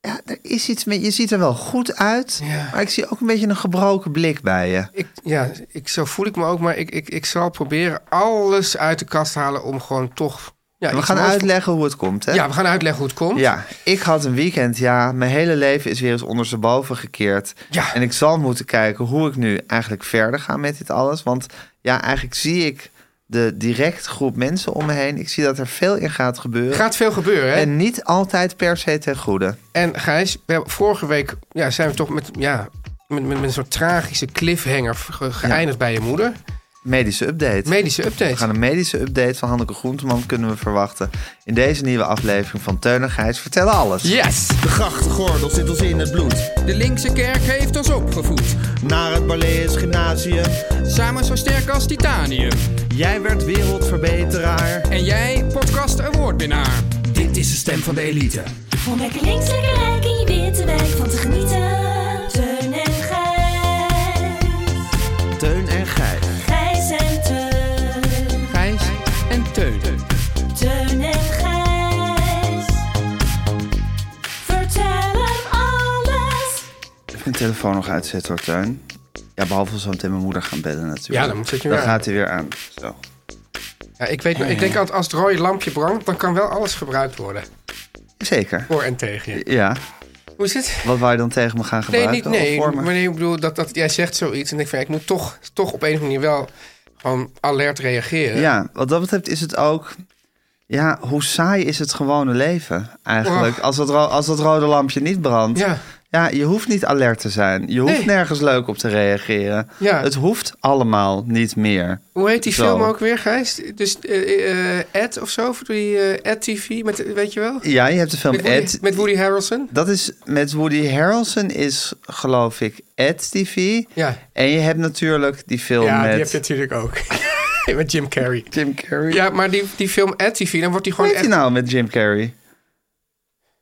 ja, er is iets met, je ziet er wel goed uit, Ja. maar ik zie ook een beetje een gebroken blik bij je. Ik, ja, ik, zo voel ik me ook, maar ik, ik, ik zal proberen alles uit de kast te halen om gewoon toch... Ja, we iets gaan moois- uitleggen hoe het komt, hè? Ja, we gaan uitleggen hoe het komt. Ja, ik had een weekend, ja, mijn hele leven is weer eens ondersteboven gekeerd. Ja. En ik zal moeten kijken hoe ik nu eigenlijk verder ga met dit alles. Want ja, eigenlijk zie ik de direct groep mensen om me heen. Ik zie dat er veel in gaat gebeuren. Er gaat veel gebeuren, hè? En niet altijd per se ten goede. En Gijs, we hebben vorige week ja, zijn we toch met, ja, met, met, met een soort tragische cliffhanger ge- geëindigd bij je moeder. Medische update. Medische we gaan update. een medische update van Hanneke Groenteman kunnen we verwachten. In deze nieuwe aflevering van Teun en Gijs vertellen alles. Yes! De grachtgordel zit ons in het bloed. De linkse kerk heeft ons opgevoed. Naar het Balees Gymnasium. Samen zo sterk als titanium. Jij werd wereldverbeteraar. En jij, podcast awardwinnaar. Dit is de stem van de elite. Om lekker links, lekker rijk in je witte wijk van te genieten. Teun en Gijs. Teun en Gijs. Gijs en Teun. Gijs en Teun. Teun en Gijs. Vertel hem alles. Even mijn telefoon nog uitzetten hoor, Teun. Ja, behalve als we meteen mijn moeder gaan bellen natuurlijk. Ja, dan moet zet je Dan weer aan. gaat hij weer aan. Zo. Ja, ik, weet, nog- ik denk altijd, als het rode lampje brandt, dan kan wel alles gebruikt worden. Zeker. Voor en tegen je. Ja. Hoe is het? Wat wou je dan tegen me gaan Nee, gebruiken? niet, nee. Of voor me? Maar nee, ik bedoel, dat, dat, jij zegt zoiets en ik van, ja, ik moet toch, toch op een of andere manier wel gewoon alert reageren. Ja, wat dat betreft is het ook... Ja, hoe saai is het gewone leven eigenlijk? Och. Als dat, ro- als dat rode lampje niet brandt. Oh. Ja. Ja, je hoeft niet alert te zijn. Je hoeft Nee. nergens leuk op te reageren. Ja. Het hoeft allemaal niet meer. Hoe heet die Zo. film ook weer, Gijs? Dus eh, eh, Ed of zo? Of die eh Ed TV, met, weet je wel? Ja, je hebt de film Met Woody, Ed. met Woody Harrelson? Dat is met Woody Harrelson is geloof ik Ed TV. Ja. En je hebt natuurlijk die film Ja, die Oh, met heb je natuurlijk ook. met Jim Carrey. Jim Carrey. Ja, maar die, die film Ed TV, dan wordt die Hoe gewoon heet die echt... nou met Jim Carrey?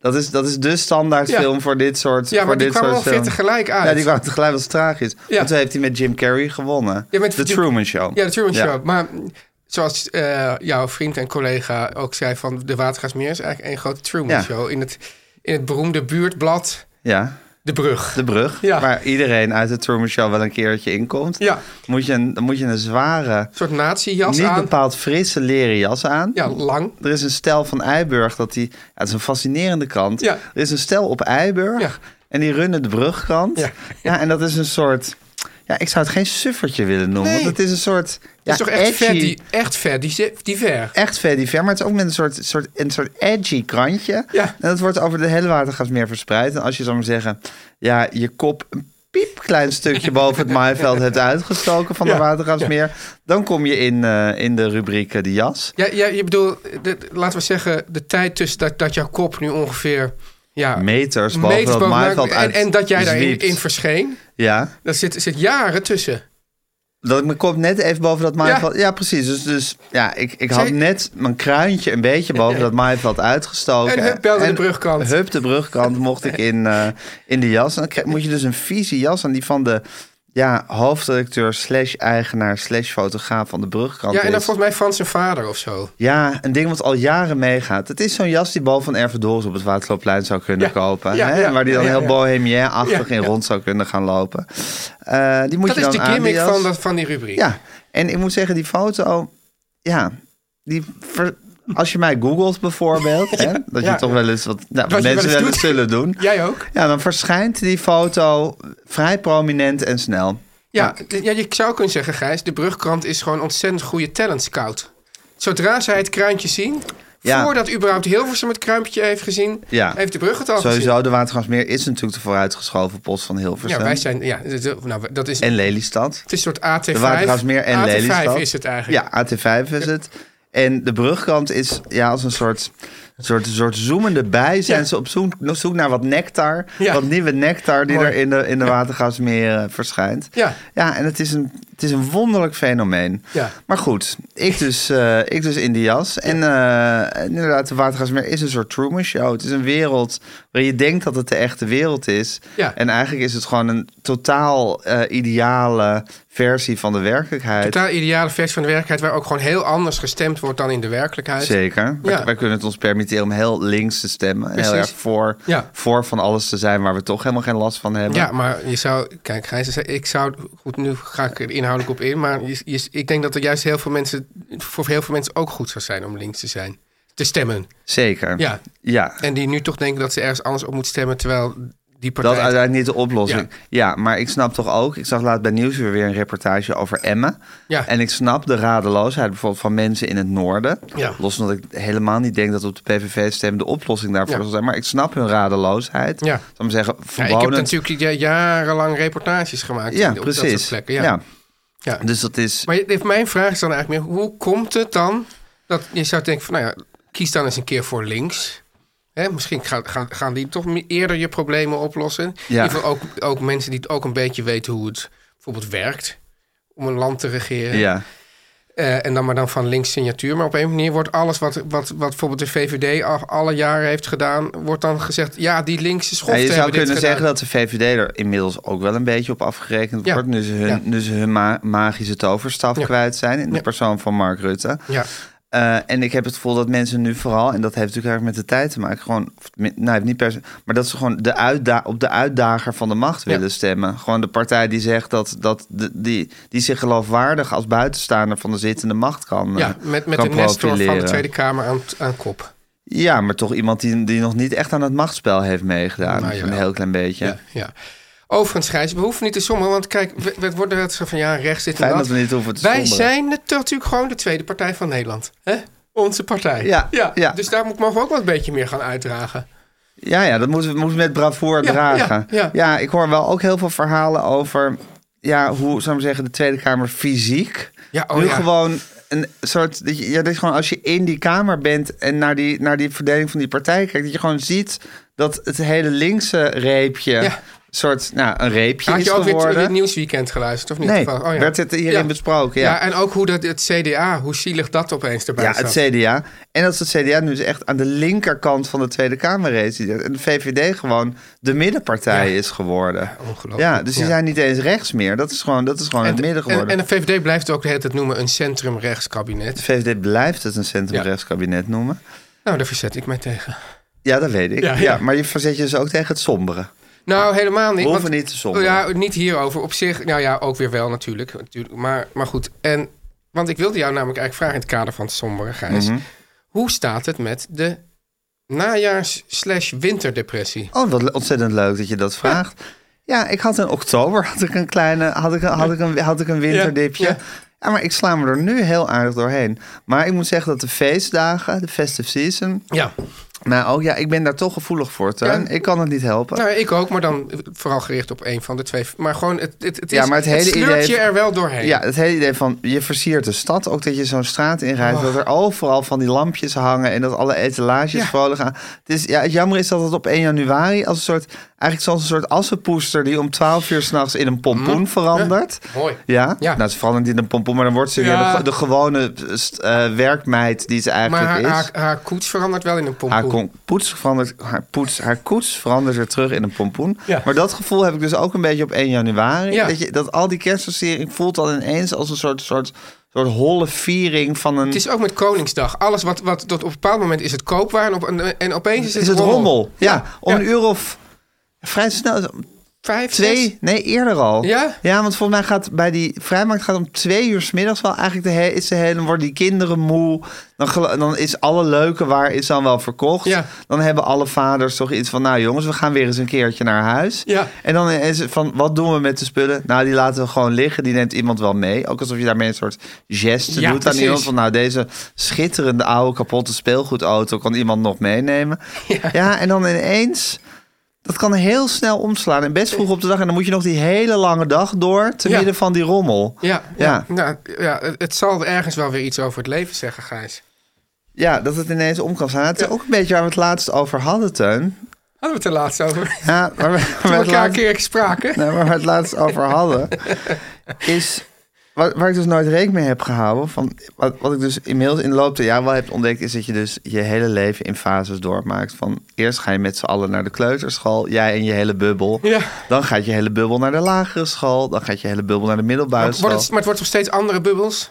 Dat is, dat is de standaard Ja. film voor dit soort Ja, voor maar die dit kwamen soort wel weer films. tegelijk uit. Ja, die kwamen tegelijk als tragisch. Ja. Want toen heeft hij met Jim Carrey gewonnen. Ja, met The Jim- Truman Show. Ja, de Truman Show. Maar mm, zoals eh, jouw vriend en collega ook zei van de Watergaasmeer... is eigenlijk één grote Truman Ja. Show in het, in het beroemde buurtblad Ja, De Brug. de brug. Ja. Waar iedereen uit de Truman Show wel een keertje inkomt. Ja. Moet je een, dan moet je een zware, Een soort nazi-jas niet aan. bepaald frisse leren jas aan. Ja, lang. Er is een stel van Eiburg dat die. Ja, het is een fascinerende krant. Ja. Er is een stel op Eiburg. Ja. En die runnen de brugkrant. Ja. en dat is een soort. Ja, ik zou het geen suffertje willen noemen. Nee. Want het is een soort. Ja, Ja, is toch echt edgy, ver, die, echt ver, die, ze- die ver. Echt ver die ver, maar het is ook met een soort, soort, een soort edgy krantje. Ja. En dat wordt over de hele watergasmeer verspreid. En als je, zou maar zeggen, ja, je kop een piepklein stukje boven het maaiveld hebt uitgestoken van Ja. de watergasmeer... dan kom je in, eh, in de rubriek eh, de jas. Ja, ja, je bedoelt, de- laten we zeggen, de tijd tussen dat, dat jouw kop nu ongeveer... Ja, Meters boven meters dat maaiveld mij- en, uit en dat jij daarin zwiept. in verscheen. Ja, Daar zit, zit jaren tussen. dat ik mijn kop net even boven dat maaiveld... Ja. Ja, precies. Dus, dus ja, ik, ik had Zij- net mijn kruintje een beetje boven dat maaiveld uitgestoken. En hup, belde de brugkant. Hup de brugkant mocht ik in, eh, in de jas. En dan krijg- moet je dus een vieze jas aan die van de... ja, hoofdredacteur slash eigenaar slash fotograaf van de Brugkrant Ja, en dan is. volgens mij van zijn vader of zo. Ja, een ding wat al jaren meegaat. Het is zo'n jas die Bal van Ervedors op het Waterloopplein zou kunnen Ja, kopen. ja, hè? ja, waar die dan ja, heel ja. bohemien-achtig Ja, in ja. rond zou kunnen gaan lopen. Eh, die moet dat je is dan de aan, die gimmick jas. van, dat, van die rubriek. Ja, en ik moet zeggen, die foto... Ja, die... ver- Als je mij googelt bijvoorbeeld, hè, dat je ja. toch wel eens wat, nou, Wat je wel mensen eens wel doet. eens zullen doen. Jij ook? Ja, dan verschijnt die foto vrij prominent en snel. Ja, ja, je zou kunnen zeggen, Gijs, de brugkrant is gewoon ontzettend goede talent scout. Zodra zij het kruintje zien, Ja. voordat überhaupt Hilversum het kruimpje heeft gezien, Ja. heeft de brug het al gezien. Sowieso, de Watergasmeer is natuurlijk de vooruitgeschoven post van Hilversum. Ja, wij zijn, ja, d- d- nou, dat is, En Lelystad. het is een soort AT5. De Watergasmeer en AT5 Lelystad. is het eigenlijk. Ja, AT5 is het. En de brugkant is ja, als een soort, soort, soort zoemende bij. Zijn Ja. ze op zoek, op zoek naar wat nectar. Ja. Wat nieuwe nectar die Mooi. er in de, in de Watergasmeer eh, verschijnt. Ja. ja en het is, een, het is een wonderlijk fenomeen. Ja. Maar goed, ik dus, eh, ik dus in die jas. En eh, inderdaad, de Watergasmeer is een soort Truman Show. Het is een wereld waar je denkt dat het de echte wereld is. Ja. En eigenlijk is het gewoon een totaal eh, ideale versie van de werkelijkheid. Totaal ideale versie van de werkelijkheid, waar ook gewoon heel anders gestemd wordt dan in de werkelijkheid. Zeker. Wij- Ja. Wij kunnen het ons permitteren om heel links te stemmen. En heel Precies. erg voor, Ja. voor van alles te zijn waar we toch helemaal geen last van hebben. Ja, maar je zou, kijk, Gijs, ik zou, goed, nu ga ik er inhoudelijk op in, maar je, je- ik denk dat er juist heel veel mensen, voor heel veel mensen ook goed zou zijn om links te zijn. Te stemmen. Zeker. Ja. ja. En die nu toch denken dat ze ergens anders op moet stemmen, terwijl die partij... Dat is uiteindelijk niet de oplossing. Ja. maar ik snap toch ook. Ik zag laatst bij Nieuwsuur weer een reportage over Emmen. Ja. En ik snap de radeloosheid bijvoorbeeld van mensen in het noorden. Ja. Los omdat ik helemaal niet denk dat op de PVV-stem de oplossing daarvoor Ja. zal zijn. Maar ik snap hun radeloosheid. Ja. Zal ik maar zeggen, Ja, ik heb verboden. natuurlijk ja- jarenlang reportages gemaakt Ja, in- op dat precies. soort plekken. Ja. Ja. Ja. Dus dat is. Maar je- mijn vraag is dan eigenlijk meer, hoe komt het dan dat je zou denken van, nou ja, kies dan eens een keer voor links. Hè, misschien gaan, gaan, gaan die toch me- eerder je problemen oplossen. Ja. In ieder geval ook, ook mensen die het ook een beetje weten hoe het bijvoorbeeld werkt om een land te regeren. ja. Eh, en dan maar dan van links signatuur. Maar op een manier wordt alles wat, wat, wat bijvoorbeeld de VVD al, alle jaren heeft gedaan... wordt dan gezegd, ja, die linkse Ja, schoften je zou hebben dit kunnen gedaan. zeggen dat de VVD er inmiddels ook wel een beetje op afgerekend Ja. wordt. Nu ze hun, Ja. nu ze hun ma- magische toverstaf Ja. kwijt zijn in de Ja. persoon van Mark Rutte. Ja, Eh, en ik heb het gevoel dat mensen nu vooral, en dat heeft natuurlijk erg met de tijd te maken, gewoon, of tenmin- nou, heeft niet per se, maar dat ze gewoon de uitda op de uitdager van de macht Ja. willen stemmen. Gewoon de partij die zegt dat, dat de- die, die zich geloofwaardig als buitenstaander van de zittende macht kan. ja, eh, met, met kan de Nestor van de profileren. Tweede Kamer aan, aan kop. Ja, maar toch iemand die, die nog niet echt aan het machtsspel heeft meegedaan. Nou, een jawel. heel klein beetje. Ja. ja. Overigens, Gijs, we hoeven niet te sommen. Want kijk, we, we worden net zo van, ja, rechts zit en Fijn dat we niet hoeven te Wij somberen. zijn het- natuurlijk gewoon de tweede partij van Nederland. Hè? Onze partij. Ja, ja, ja. Dus daar moet- mogen we ook wel een beetje meer gaan uitdragen. Ja, ja, dat moeten we moeten we met bravoer Ja, dragen. ja, ja. ik hoor wel ook heel veel verhalen over ja, hoe zou ik zeggen, de Tweede Kamer fysiek. Ja, oh nu ja. gewoon een soort. dat je- Ja, dat is gewoon als je in die Kamer bent en naar die, naar die verdeling van die partij kijkt, dat je gewoon ziet dat het hele linkse reepje. Ja. soort, nou, een reepje Had is je ook weer geworden. het- het nieuwsweekend geluisterd, of niet? Nee, Of wel? Oh, ja. werd het hierin Ja. besproken, ja. Ja, en ook hoe dat, het CDA, hoe zielig dat opeens erbij Ja, staat. het CDA. En dat is het CDA nu dus echt aan de linkerkant van de Tweede Kamer resideert. En de VVD gewoon de middenpartij Ja. is geworden. ongelooflijk. Ja, dus die Ja. zijn niet eens rechts meer. Dat is gewoon, dat is gewoon En, het midden geworden. en, en de VVD blijft ook de hele tijd noemen een centrumrechtskabinet. de VVD blijft het een centrumrechtskabinet noemen. Nou, daar verzet ik mij tegen. Ja, dat weet ik. Ja, Ja, ja. maar je verzet je dus ook tegen het sombere. Nou, helemaal niet. We want- hoeven niet te somberen. Ja, niet hierover. Op zich, nou ja, ook weer wel natuurlijk. natuurlijk maar, maar goed, en, want ik wilde jou namelijk eigenlijk vragen in het kader van het sombere, Gijs. Mhm. Hoe staat het met de najaars-slash-winterdepressie? Oh, wat le- ontzettend leuk dat je dat vraagt. Ja, ik had in oktober had ik een kleine, had ik een, had ik een, had ik een winterdipje. Ja, ja. maar ik sla me er nu heel aardig doorheen. Maar ik moet zeggen dat de feestdagen, de festive season, Ja. Nou, ook ja, ik ben daar toch gevoelig voor, Teun. Ja. Ik kan het niet helpen. Nou, ik ook, maar dan vooral gericht op een van de twee. Maar gewoon, het, het, het, is, Ja, maar het hele sleurt idee- je er wel doorheen. ja, het hele idee van je versiert de stad. Ook dat je zo'n straat inrijdt. Oh. Dat er overal van die lampjes hangen. En dat alle etalages Ja. vrolijk gaan. Het, is, ja, het jammer is dat het op 1 januari. Als een soort, eigenlijk zoals een soort assenpoester. die om 12 uur s'nachts in een pompoen verandert. Mooi. Ja? Mm. Ja. nou ze verandert niet in een pompoen. Maar dan wordt ze Ja. weer de, de gewone eh, st- eh, werkmeid die ze Maar eigenlijk haar, is. haar, haar koets verandert wel in een pompoen. Haar kon- poets verandert, haar, poets, haar koets verandert er terug in een pompoen. Ja. Maar dat gevoel heb ik dus ook een beetje op 1 januari. Ja. Dat, je, dat al die kerstversiering voelt dan ineens als een soort, soort, soort holle viering van een... Het is ook met Koningsdag. Alles wat, wat tot op een bepaald moment is het koopwaar en, op, en, en opeens is het, is het rommel. Ja, om Ja. een uur of vrij snel. Vijf, zes? Twee, nee, eerder al. Ja? Ja, want volgens mij gaat bij die vrijmarkt gaat om twee uur 's middags wel eigenlijk de he- is de hele, worden die kinderen moe. Dan, gel- dan is alle leuke waar is dan wel verkocht. Ja. Dan hebben alle vaders toch iets van, nou jongens, we gaan weer eens een keertje naar huis. Ja. En dan is het van, wat doen we met de spullen? Nou, die laten we gewoon liggen. Die neemt iemand wel mee. Ook alsof je daarmee een soort geste Ja, doet aan precies. iemand. Van, nou, deze schitterende oude kapotte speelgoedauto kan iemand nog meenemen. Ja, en dan ineens... Dat kan heel snel omslaan en best vroeg op de dag. En dan moet je nog die hele lange dag door te Ja. midden van die rommel. Ja, Ja. ja. Nou, ja, het- het zal ergens wel weer iets over het leven zeggen, Gijs. Ja, dat het ineens om kan slaan. Het is ook een beetje waar we het laatst over hadden, Teun. Hadden we het er laatst over? Ja, waar we, waar we Toen we het elkaar een laatst, keer spraken. nee, waar we het laatst over hadden, is waar, waar ik dus nooit rekening mee heb gehouden. Van, wat, wat ik dus inmiddels in de loop der jaren wel heb ontdekt, is dat je dus je hele leven in fases doormaakt. Van eerst ga je met z'n allen naar de kleuterschool, jij en je hele bubbel. Ja. Dan gaat je hele bubbel naar de lagere school. Dan gaat je hele bubbel naar de middelbare Maar, school. wordt het, maar het wordt nog steeds andere bubbels.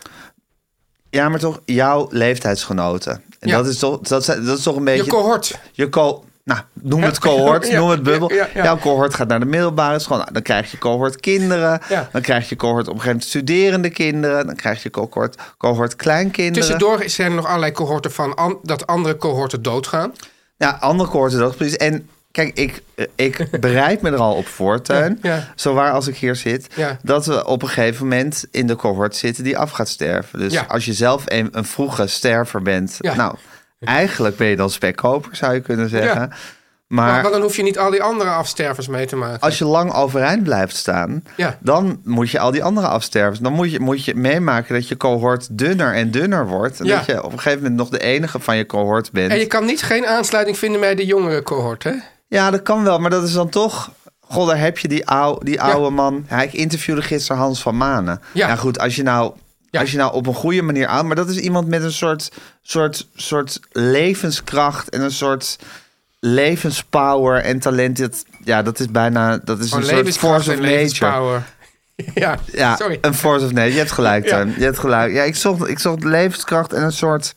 Ja, maar toch jouw leeftijdsgenoten. En Ja. dat, is toch, dat, zijn- dat is toch een beetje... Je cohort. je co- nou, noem het cohort, Ja, noem het bubbel. ja, ja, ja. Jouw cohort gaat naar de middelbare school. Nou, dan krijg je cohort kinderen. Ja. Dan krijg je cohort op een gegeven moment studerende kinderen. Dan krijg je cohort, cohort kleinkinderen. Tussendoor zijn er nog allerlei cohorten van an- dat andere cohorten doodgaan. Ja, andere cohorten dat precies. En kijk, ik, eh, ik bereid me er al op voor, Teun. Ja, ja. Zowaar als ik hier zit. Ja. Dat we op een gegeven moment in de cohort zitten die af gaat sterven. Dus Ja. als je zelf een, een vroege sterver bent. Ja. Nou, eigenlijk ben je dan spekkoper, zou je kunnen zeggen. Ja. Nou, Maar Maar dan hoef je niet al die andere afstervers mee te maken. als je lang overeind blijft staan, Ja. dan moet je al die andere afsterven. Dan moet je, moet je meemaken dat je cohort dunner en dunner wordt. En Ja. dat je op een gegeven moment nog de enige van je cohort bent. En je kan niet geen aansluiting vinden bij de jongere cohort, hè? Ja, dat kan wel, maar dat is dan toch... God, daar heb je die, ou, die oude man. Ja, ik interviewde gisteren Hans van Manen. Ja, Ja. goed, als je nou... Ja. Als je nou op een goede manier aan... Maar dat is iemand met een soort, soort, soort levenskracht... en een soort levenspower en talent. Dat, ja, dat is bijna... Dat is Gewoon een soort Oh, levenskracht force of en nature. levenspower. Ja, Ja, sorry. een force of nature. Je hebt gelijk, Ja. Teun. Je hebt gelijk. Ja, ik zocht, ik zocht levenskracht en een soort...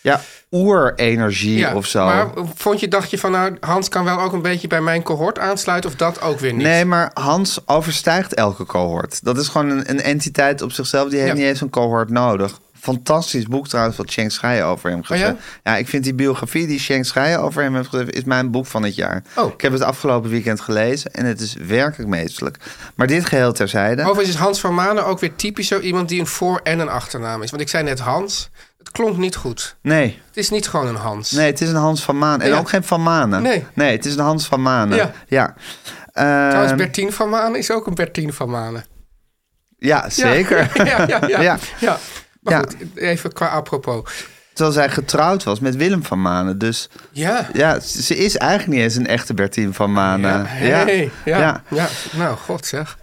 Ja, oerenergie Ja, of zo. Maar vond je, dacht je van, nou, Hans kan wel ook een beetje bij mijn cohort aansluiten of dat ook weer niet? Nee, maar Hans overstijgt elke cohort. Dat is gewoon een, een entiteit op zichzelf. Die heeft Ja. niet eens een cohort nodig. Fantastisch boek trouwens wat Cheng Schreier over hem geschreven. Oh ja? ik vind die biografie die Cheng Schreier over hem heeft geschreven... is mijn boek van het jaar. Oh. Ik heb het afgelopen weekend gelezen en het is werkelijk meestelijk. Maar dit geheel terzijde. Overigens is Hans van Manen ook weer typisch zo iemand die een voor- en een achternaam is. Want ik zei net Hans, het klonk niet goed. Nee, Het is niet gewoon een Hans. nee, het is een Hans van Maan. En Ja. ook geen Van Manen. Nee. het is een Hans van Manen. Ja. ja. Trouwens, Ehm, Bertien van Manen is ook een Bertien van Manen. ja, Ja. zeker. ja, ja, ja. Ja. ja. Maar Ja. goed, even qua apropos. Terwijl zij getrouwd was met Willem van Manen. Dus Ja. Ja, ze ze is eigenlijk niet eens een echte Bertien van Manen. Ja, hey, ja, eh, ja. ja. Nou, god zeg.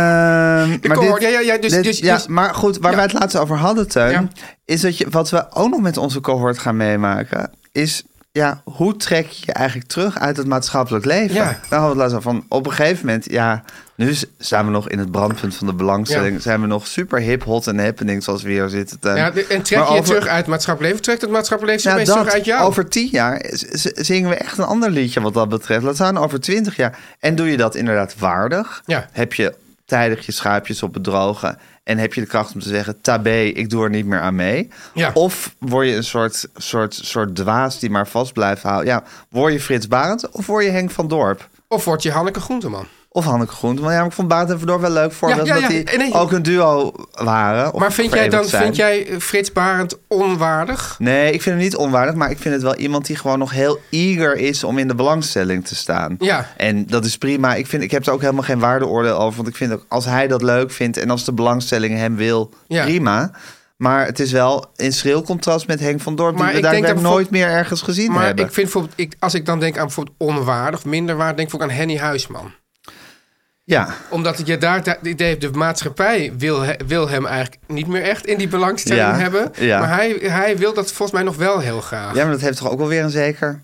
Ehm, maar cohort, dit- ja, ja, ja, dus- dit- dus- ja, dus- maar goed, waar ja. wij het laatst over hadden, Teun... Ja. is dat je, wat we ook nog met onze cohort gaan meemaken... is, ja, hoe trek je je eigenlijk terug uit het maatschappelijk leven? Ja. Daar hadden we het laatst over. Van, op een gegeven moment, ja... nu s- staan we nog in het brandpunt van de belangstelling... Ja. zijn we nog super hip, hot en happening zoals we hier zitten, Teun. Ja, de- en trek Maar je je over- terug uit het maatschappelijk leven? Trekt het maatschappelijk leven Nou, opeens terug dat, uit jou? Over tien jaar z- z- zingen we echt een ander liedje wat dat betreft. Laat staan over twintig jaar. En doe je dat inderdaad waardig? Ja. Heb je tijdig je schaapjes op bedrogen? En heb je de kracht om te zeggen, tabé, ik doe er niet meer aan mee? Ja. Of word je een soort, soort, soort dwaas die maar vast blijft houden? Ja, word je Frits Barend of word je Henk van Dorp? Of wordt je Hanneke Groenteman? Of Hanneke Groenteman. Ja, maar ik vond Barend en Van Dorp wel een leuk voorbeeld. ja, ja. Dat die Nee, nee. ook een duo waren. Of maar vind jij, verenigd dan, zijn. vind jij eh, Frits Barend onwaardig? Nee, ik vind hem niet onwaardig, maar ik vind het wel iemand die gewoon nog heel eager is om in de belangstelling te staan. Ja. En dat is prima. Ik, vind, ik heb er ook helemaal geen waardeoordeel over, want ik vind ook als hij dat leuk vindt en als de belangstelling hem wil, Ja. prima. Maar het is wel in schril contrast met Henk van Dorp, Maar die we ik denk daar dat nooit meer ergens gezien Maar hebben. ik vind bijvoorbeeld, ik, als ik dan denk aan bijvoorbeeld onwaardig, minder waard, denk ik ook aan Henny Huisman. Ja, Omdat je daar daar- het idee hebt, de maatschappij wil, he- wil hem eigenlijk niet meer echt in die belangstelling Ja, hebben. ja. Maar hij, hij wil dat volgens mij nog wel heel graag. ja, maar dat heeft toch ook wel weer een zeker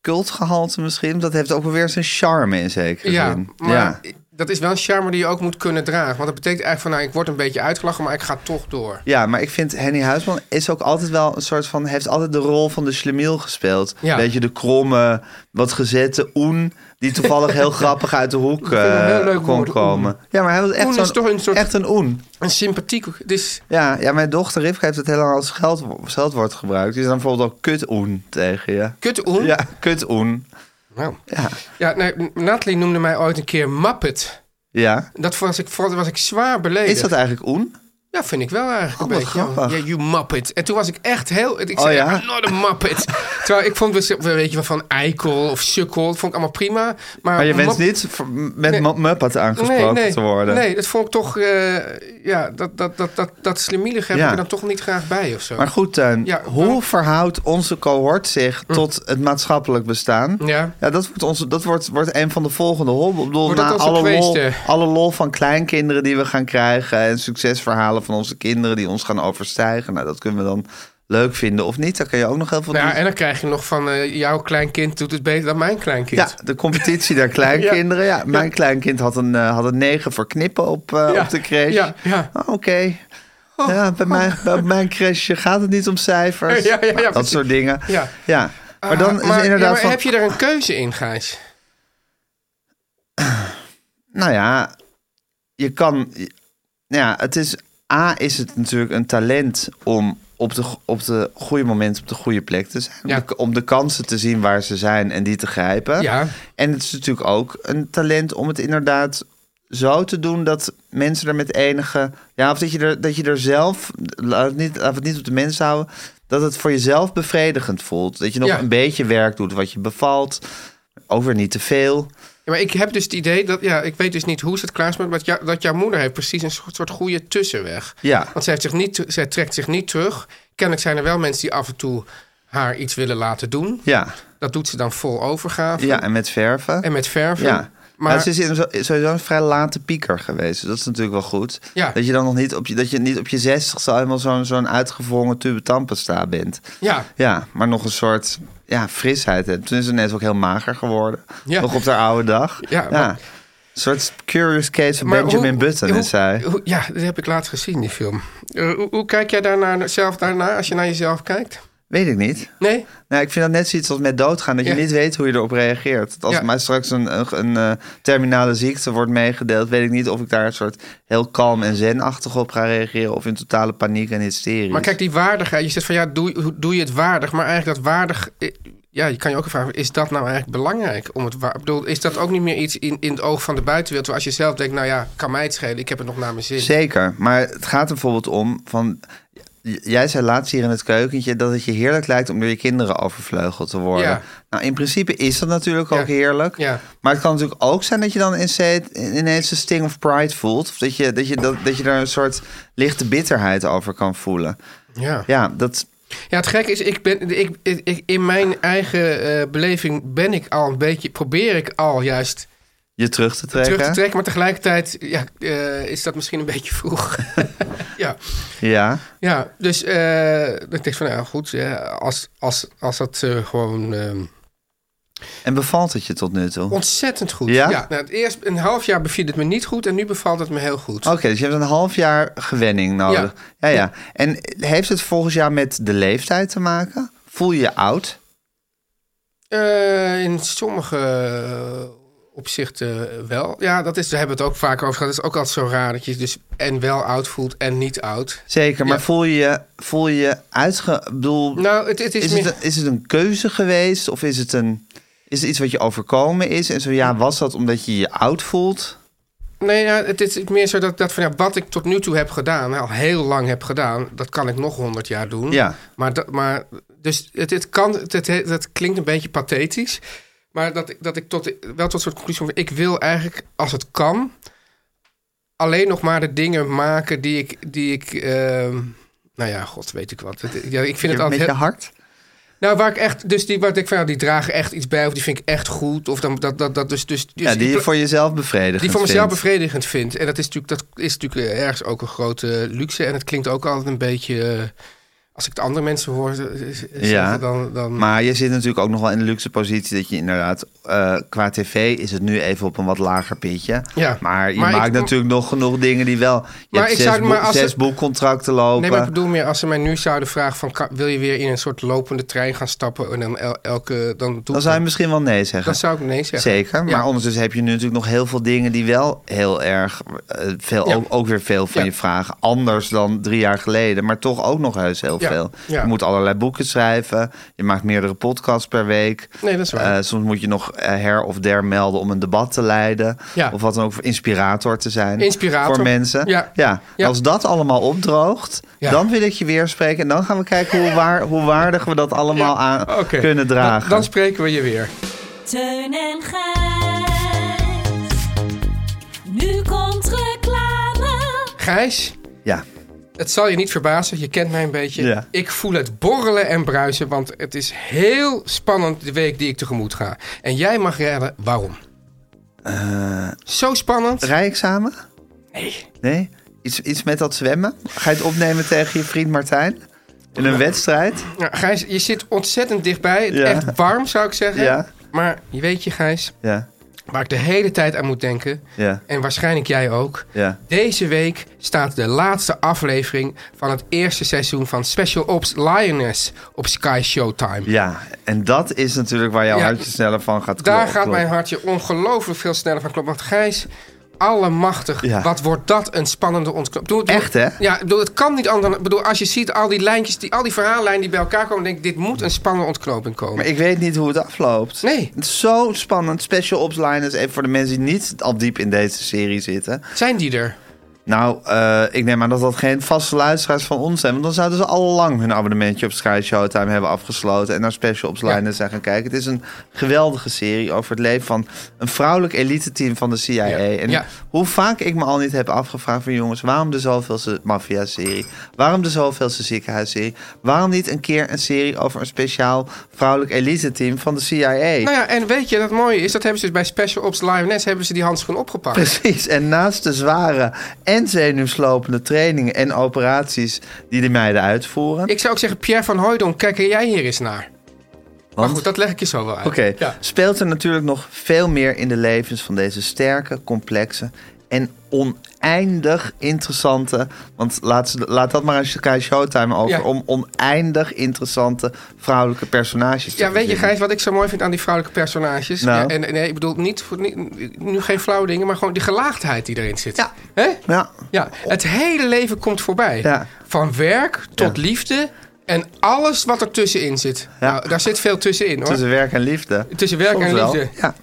cultgehalte misschien. Dat heeft ook wel weer zijn charme in zekere Ja, zin. maar ja. dat is wel een charme die je ook moet kunnen dragen. Want dat betekent eigenlijk van, nou, ik word een beetje uitgelachen, maar ik ga toch door. Ja, maar ik vind Henny Huisman is ook altijd wel een soort van... heeft altijd de rol van de slemiel gespeeld. Ja. Beetje de kromme, wat gezette oen... die toevallig heel grappig uit de hoek vind eh, hem heel leuk kon woord, oen. komen. Ja, maar hij was echt Oen zo'n... is toch een soort- Echt een oen. Een dus, sympathiek, het is Ja, ja, mijn dochter Rivka heeft het heel lang als geld, scheldwoord gebruikt. Die is dan bijvoorbeeld ook kut-oen tegen je. kut oen. Ja, kut-oen. Nou. Ja. Ja, nee, Natalie noemde mij ooit een keer Muppet. ja. Dat was ik, dat was ik zwaar beledigd. Is dat eigenlijk oen? Ja, vind ik wel eigenlijk Oh, een wat beetje. ja. grappig. Ja, you muppet. En toen was ik echt heel... Ik Oh, zei, ja? I'm not a muppet. Terwijl ik vond, dus, weet je, wel, van eikel of sukkel, dat vond ik allemaal prima. Maar, Maar je wenst mop- niet voor- met Nee. mu- Muppet Nee, aangesproken nee, te worden. nee, dat vond ik toch... eh, ja, dat, dat, dat, dat, dat slimielige heb Ja. ik er dan toch niet graag bij of zo. Maar goed, Teun, Ja, hoe waarom- verhoudt onze cohort zich tot het maatschappelijk bestaan? Ja. Ja, dat wordt, onze, dat wordt, wordt een van de volgende hobbels. Ik bedoel, Wordt na dat onze alle lol, kweeste? alle lol van kleinkinderen die we gaan krijgen... en succesverhalen van onze kinderen die ons gaan overstijgen. Nou, dat kunnen we dan leuk vinden of niet. Daar kun je ook nog heel veel Nou, ja, doen. en dan krijg je nog van... eh, jouw kleinkind doet het beter dan mijn kleinkind. Ja, de competitie der kleinkinderen. ja. mijn kleinkind had een, eh, had een negen voor knippen op, eh, Ja, op de crash. ja, ja. Oh. Oh, Oké. Ja, bij, mijn, bij mijn crashje gaat het niet om cijfers. Ja, ja, ja, dat precies. soort dingen. Ja. ja. Maar Ah, dan is maar- inderdaad ja, maar van... heb je daar een keuze in, Gijs? Nou ja, je kan. je- nou Ja, het is. A is het natuurlijk een talent om op de, op de goede moment op de goede plek te zijn. Om Ja. de- om de kansen te zien waar ze zijn en die te grijpen. Ja. En het is natuurlijk ook een talent om het inderdaad zo te doen dat mensen er met enige. Ja, of dat je er, dat je er zelf. Laat het niet, laat we het niet op de mensen houden. Dat het voor jezelf bevredigend voelt. Dat je nog Ja. een beetje werk doet wat je bevalt. Ook weer niet te veel. Ja, maar ik heb dus het idee dat, ja, ik weet dus niet hoe ze het klaarsmaakt, maar dat jou- dat jouw moeder heeft precies een soort, soort goede tussenweg. Ja. Want zij, heeft zich niet, zij trekt zich niet terug. Kennelijk zijn er wel mensen die af en toe haar iets willen laten doen. Ja, Dat doet ze dan vol overgave ja en met verven. en met verven. Ja. Maar Maar, ze is dus in zo- sowieso een vrij late pieker geweest. Dus dat is natuurlijk wel goed. Ja. Dat je dan nog niet op je, dat je niet op je 60 zo helemaal zo'n zo'n uitgevrongen tube tandpasta bent. ja, Ja, maar nog een soort ja, frisheid hebt. Toen is ze net ook heel mager geworden. Ja. Nog op haar oude dag. Ja, maar- Een soort curious case van maar Benjamin hoe- Button hoe- is zij. hoe- ja, dat heb ik laatst gezien, die film. Eh, hoe, hoe kijk jij daarnaar, zelf daarna, als je naar jezelf kijkt? Weet ik niet. Nee? Nou, ik vind dat net zoiets als met doodgaan. Dat je Ja. niet weet hoe je erop reageert. Dat Als Ja. mij straks een, een, een, eh, terminale ziekte wordt meegedeeld... weet ik niet of ik daar een soort heel kalm en zenachtig op ga reageren... of in totale paniek en hysterie. Maar kijk, die waardigheid. Je zegt van ja, doe, hoe doe je het waardig? Maar eigenlijk dat waardig. eh, Ja, je kan je ook vragen: is dat nou eigenlijk belangrijk? Om het waar, ik bedoel, is dat ook niet meer iets in, in het oog van de buitenwereld? Terwijl Als je zelf denkt: nou ja, kan mij het schelen, ik heb het nog naar mijn zin. Zeker, maar het gaat er bijvoorbeeld om van... j- Jij zei laatst hier in het keukentje dat het je heerlijk lijkt om door je kinderen overvleugeld te worden. Ja. Nou, in principe is dat natuurlijk ook Ja. heerlijk. Ja. Maar het kan natuurlijk ook zijn dat je dan inze- ineens een sting of pride voelt. Of dat je, dat, je, dat, dat je daar een soort lichte bitterheid over kan voelen. Ja. Ja, dat, ja, het gekke is, ik ben, ik, ik, ik- in mijn eigen eh, beleving ben ik al een beetje, probeer ik al juist je terug te trekken. terug te trekken. Maar tegelijkertijd ja, eh, is dat misschien een beetje vroeg. ja. Ja, Ja, dus eh, ik denk van, nou goed, ja, als, als, als dat eh, gewoon... ehm, en bevalt het je tot nu toe? Oké, Ontzettend goed. Ja? Ja? nou, het eerst een half jaar beviel het me niet goed en nu bevalt het me heel goed. dus je hebt een half jaar gewenning nodig. Ja. ja, En heeft het volgens jou met de leeftijd te maken? Voel je je oud? Eh, in sommige eh, opzichten wel. Ja, dat is, daar hebben we het ook vaak over gehad. Het is ook altijd zo raar dat je dus en wel oud voelt en niet oud. Zeker, maar Ja. voel je je, voel je je uitge... ik bedoel, Nou, het, het is, is, meer... het, is het een keuze geweest? Of is het, een, is het iets wat je overkomen is? En zo Mm. ja, was dat omdat je je oud voelt? Nee, ja, het is meer zo dat, dat van, ja, wat ik tot nu toe heb gedaan, al heel lang heb gedaan, dat kan ik nog honderd jaar doen. Ja. Maar, dat, maar dus het, het kan, het, het, het klinkt een beetje pathetisch, maar dat, ik- dat ik tot, wel tot een soort conclusie kom, ik wil eigenlijk, als het kan, alleen nog maar de dingen maken die ik, die ik ehm, nou ja, god weet ik wat. Het- ja, ik vind het Je- met altijd je heel- hart? nou, waar ik echt, dus die, waar ik van, ja, die dragen echt iets bij, of die vind ik echt goed, of dan, dat, dat, dat, dus, dus, dus ja, die ik- je voor jezelf bevredigt. die voor mezelf bevredigend vindt. En dat is natuurlijk, dat is natuurlijk eh, ergens ook een grote luxe. En het klinkt ook altijd een beetje eh, Als ik de andere mensen hoor eh, z- Ja. zeggen, dan... dan Maar je zit natuurlijk ook nog wel in de luxe positie dat je inderdaad, eh, qua tv is het nu even op een wat lager pitje. Ja. Maar je Maar ik- maakt natuurlijk nog genoeg dingen die wel. Je Maar hebt ik zes, zou- maar boek- als zes ze- boekcontracten lopen. Nee, maar ik bedoel meer als ze mij nu zouden vragen van... ka- wil je weer in een soort lopende trein gaan stappen en dan el- elke... Dan, doe ik dan zou je misschien wel nee zeggen. Dan zou ik nee zeggen. Zeker, maar Ja. ondertussen heb je nu natuurlijk nog heel veel dingen die wel heel erg eh, veel, Ja. ook, ook weer veel van Ja. je vragen. Anders dan drie jaar geleden, maar toch ook nog heus heel Ja. veel. Ja. Je moet allerlei boeken schrijven, je maakt meerdere podcasts per week. Nee, dat is waar. Eh, soms moet je nog eh, her of der melden om een debat te leiden. Ja. Of wat dan ook, voor inspirator te zijn. Inspirator. Voor mensen. Ja. Ja. Als dat allemaal opdroogt, Ja. dan wil ik je weer spreken. En dan gaan we kijken hoe, waar, hoe waardig we dat allemaal aan Oké. kunnen dragen. Dan, dan spreken we je weer. Teun en Gijs. Nu komt reclame. Gijs, Ja. het zal je niet verbazen. Je kent mij een beetje. Ja. Ik voel het borrelen en bruisen. Want het is heel spannend de week die ik tegemoet ga. En jij mag raden waarom. Eh, Zo spannend. Rijexamen? Nee. Nee? Iets, iets met dat zwemmen? Ga je het opnemen tegen je vriend Martijn? In een wedstrijd? Nou, Gijs, je zit ontzettend dichtbij. Het is Ja. Echt warm zou ik zeggen. Ja. Maar je weet je, Gijs, Ja, waar ik de hele tijd aan moet denken. ja, En waarschijnlijk jij ook. ja. Deze week staat de laatste aflevering van het eerste seizoen van Special Ops Lioness op Sky Showtime. Ja, en dat is natuurlijk waar jouw Ja. hartje sneller van gaat Daar kloppen. gaat mijn hartje ongelooflijk veel sneller van kloppen. Want Gijs, allemachtig, Ja. wat wordt dat een spannende ontknop. Doe, doe- Echt, hè? Ja, ik bedoel, het kan niet anders. dan- Ik bedoel, als je ziet al die lijntjes, die, al die verhaallijnen die bij elkaar komen, denk ik, dit moet een spannende ontknoping komen. Maar ik weet niet hoe het afloopt. Nee. Het is zo spannend. Special Ops Line is even voor de mensen die niet al diep in deze serie zitten. Zijn die er? Nou, eh, ik neem aan dat dat geen vaste luisteraars van ons zijn. Want dan zouden ze al lang hun abonnementje op Sky Showtime hebben afgesloten. En naar Special Ops Ja. Line zijn gaan kijken. Het is een geweldige serie over het leven van een vrouwelijk elite-team van de CIA. Ja. En Ja. hoe vaak ik me al niet heb afgevraagd van jongens, waarom de zoveelste maffia-serie? Waarom de zoveelste ziekenhuisserie? Waarom niet een keer een serie over een speciaal vrouwelijk elite-team van de CIA? Nou ja, en weet je, dat mooie is, dat hebben ze dus bij Special Ops Lioness, hebben ze die handschoen opgepakt. Precies, en naast de zware en zenuwslopende trainingen en operaties die de meiden uitvoeren. Ik zou ook zeggen, Pierre van Hooydonk, kijk er jij hier eens naar. Maar goed, dat leg ik je zo wel uit. Oké, Ja. speelt er natuurlijk nog veel meer in de levens van deze sterke, complexe en oneindig interessante. Want laat, ze- laat dat maar aan Sky Showtime over. Ja. Om oneindig interessante vrouwelijke personages te Ja, weet je, verzinnen. Gijs, wat ik zo mooi vind aan die vrouwelijke personages? Nou. Ja, en nee, ik bedoel niet, voor, niet- nu geen flauwe dingen, maar gewoon die gelaagdheid die erin zit. Ja. Hè? Ja, ja. Het hele leven komt voorbij. Ja. Van werk tot liefde en alles wat er tussenin zit. Ja. Nou, daar zit veel tussenin hoor. tussen werk en liefde. Tussen werk Soms en wel. liefde. Ja.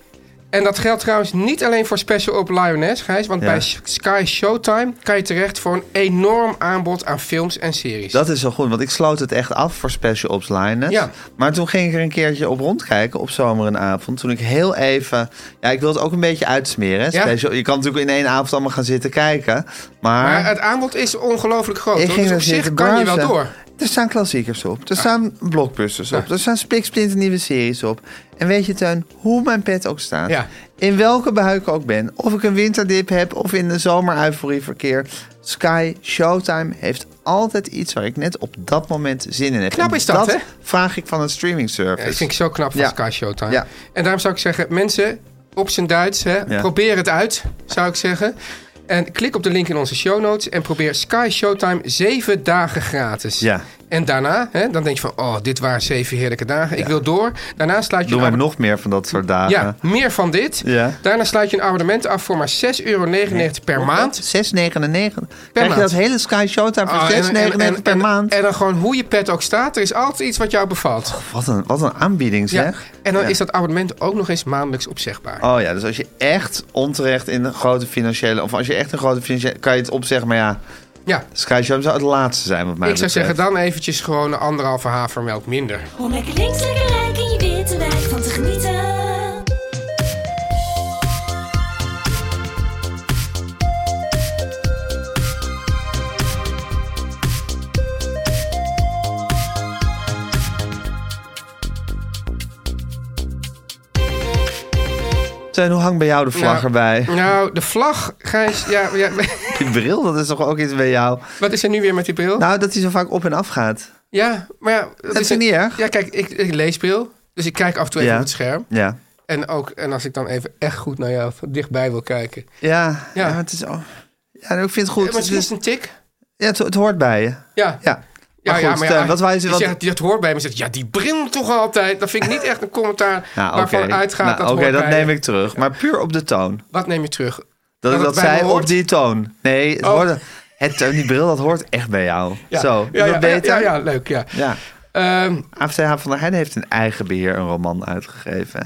En dat geldt trouwens niet alleen voor Special Op Lioness, Gijs. Want Ja. bij Sky Showtime kan je terecht voor een enorm aanbod aan films en series. Dat is wel goed, want ik sloot het echt af voor Special Ops Lioness. Ja. Maar toen ging ik er een keertje op rondkijken op zomer en avond. Toen ik heel even... Ja, ik wil het ook een beetje uitsmeren. hè, Ja. Special, je kan natuurlijk in één avond allemaal gaan zitten kijken. Maar, Maar het aanbod is ongelooflijk groot. ik hoor. ging dus er op zich zitten kan je wel browsen. door. Er staan klassiekers op. Er staan blockbusters op. Er staan spiksplinter nieuwe series op. En weet je, Teun, hoe mijn pet ook staat... Ja. in welke buik ik ook ben... of ik een winterdip heb of in de zomer-euforie verkeer... Sky Showtime heeft altijd iets waar ik net op dat moment zin in heb. Knap En is dat, hè? vraag ik van een streaming service. Ja, dat vind ik zo knap van Ja. Sky Showtime. Ja. En daarom zou ik zeggen, mensen, op zijn Duits, hè, Ja. probeer het uit, zou ik zeggen. En klik op de link in onze show notes en probeer Sky Showtime zeven dagen gratis. Ja. En daarna, hè, dan denk je van, oh, dit waren zeven heerlijke dagen. Ik wil door. Daarna sluit je Doe een maar abonnement- nog meer van dat soort dagen. Ja, meer van dit. Ja. Daarna sluit je een abonnement af voor maar 6,99 euro per maand. 6,99. Krijg je dat maand. hele Sky Showtime voor Ah, en- en- 6,99 en- per en- maand? En dan gewoon hoe je pet ook staat. Er is altijd iets wat jou bevalt. Wat een, wat een aanbieding, ja. zeg. En dan Ja. is dat abonnement ook nog eens maandelijks opzegbaar. Oh ja, dus als je echt onterecht in een grote financiële... of als je echt een grote financiële... kan je het opzeggen, maar ja... Ja. Sky Showtime zou het laatste zijn, wat mij Ik zou betreft. zeggen, dan eventjes gewoon een anderhalve havermelk minder. Om lekker links, lekker rijk in je witte wijk van te genieten. Teun, hoe hangt bij jou de vlag Nou, erbij? Nou, de vlag, Gijs, ja, ja, Die bril, dat is toch ook iets bij jou? wat is er nu weer met die bril? Nou, dat hij zo vaak op en af gaat. Ja, maar ja... Dat vind ik niet erg. Ja, kijk, ik, ik lees veel. Dus ik kijk af en toe even Ja. op het scherm. Ja. En, ook, en als ik dan even echt goed naar jou van dichtbij wil kijken. Ja, Ja. ja. het is al... Ja, ik vind het goed. Eh, maar het het, is is, een tik. ja, het, het hoort bij je. Ja. dus- Ja. Maar goed, Steun, wat wij- je wat- zegt, dat hoort bij me. Je Zegt, ja, die bril toch altijd. Dat vind ik niet echt een commentaar Nou, waarvan oké. uitgaat Nou, dat Oké, hoort dat bij neem je. ik terug. Maar puur op de toon. Wat neem je terug? Dat, het dat bij me zij op hoort? die toon. Nee, het Oh. hoort- Het, eh, die bril, dat hoort echt bij jou. Ja. Zo, ja, dat ja, beter. Ja, ja, ja, leuk, ja. Ja. Ehm, AFTH van der Heijden heeft in eigen beheer een roman uitgegeven. hè?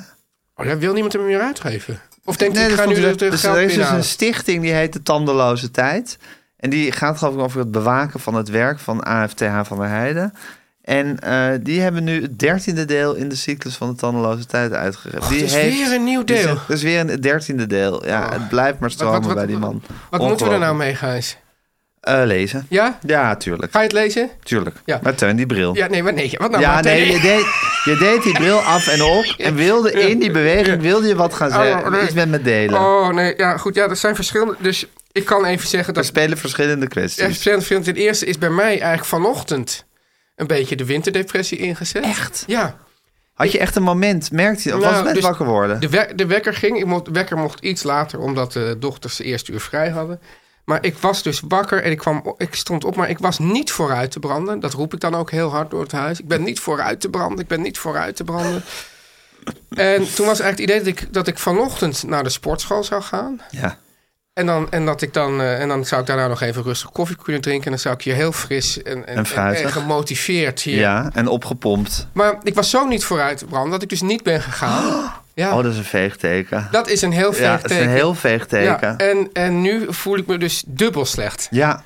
oh, ja, wil niemand hem meer uitgeven? Of denkt hij, ik dat ga vond nu ik- de, de dus geld Er is dus binnenhalen? een stichting die heet de Tandeloze Tijd. En die gaat geloof ik over het bewaken van het werk van AFTH van der Heijden. En eh, die hebben nu het dertiende deel in de cyclus van de Tandeloze Tijd uitgegeven. Och, die het is heeft- weer een nieuw die deel. zegt- Het is weer een dertiende deel. Ja, Oh. het blijft maar stromen wat- bij die man. Wat moeten we er nou Ongelooflijk. mee, Gijs? Eh, lezen. Ja? Ja, tuurlijk. Ga je het lezen? tuurlijk. Ja. Maar Teun, die bril. Ja, nee, maar nee. Wat nou? ja, maar- nee, je deed, je deed die bril af en op. En wilde in die beweging wilde je wat gaan zeggen. Oh, nee. Iets met me delen. Oh, nee. Ja, goed. Ja, dat zijn verschillende... Dus ik kan even zeggen Er dat... spelen verschillende kwesties. Echt, Vriend, het eerste is bij mij eigenlijk vanochtend een beetje de winterdepressie ingezet. Echt? Ja. Had je echt een moment, merkte je, of was Nou, het net dus wakker worden? De, we- de wekker ging, ik mocht, de wekker mocht iets later, omdat de dochters de eerste uur vrij hadden. Maar ik was dus wakker en ik, kwam, o- ik stond op, maar ik was niet vooruit te branden. Dat roep ik dan ook heel hard door het huis. Ik ben niet vooruit te branden, ik ben niet vooruit te branden. En toen was eigenlijk het idee dat ik, dat ik vanochtend naar de sportschool zou gaan. Ja. En dan, en, dat ik dan, eh, en dan zou ik daarna nog even rustig koffie kunnen drinken. En dan zou ik hier heel fris en, en, En fruitig. en- en gemotiveerd hier. ja, en opgepompt. Maar ik was zo niet vooruit, Bram, dat ik dus niet ben gegaan. Ja, Oh, dat is een veegteken. dat is een heel ja, veeg dat is een heel veegteken. ja, Ja, en... en, en nu voel ik me dus dubbel slecht. Ja,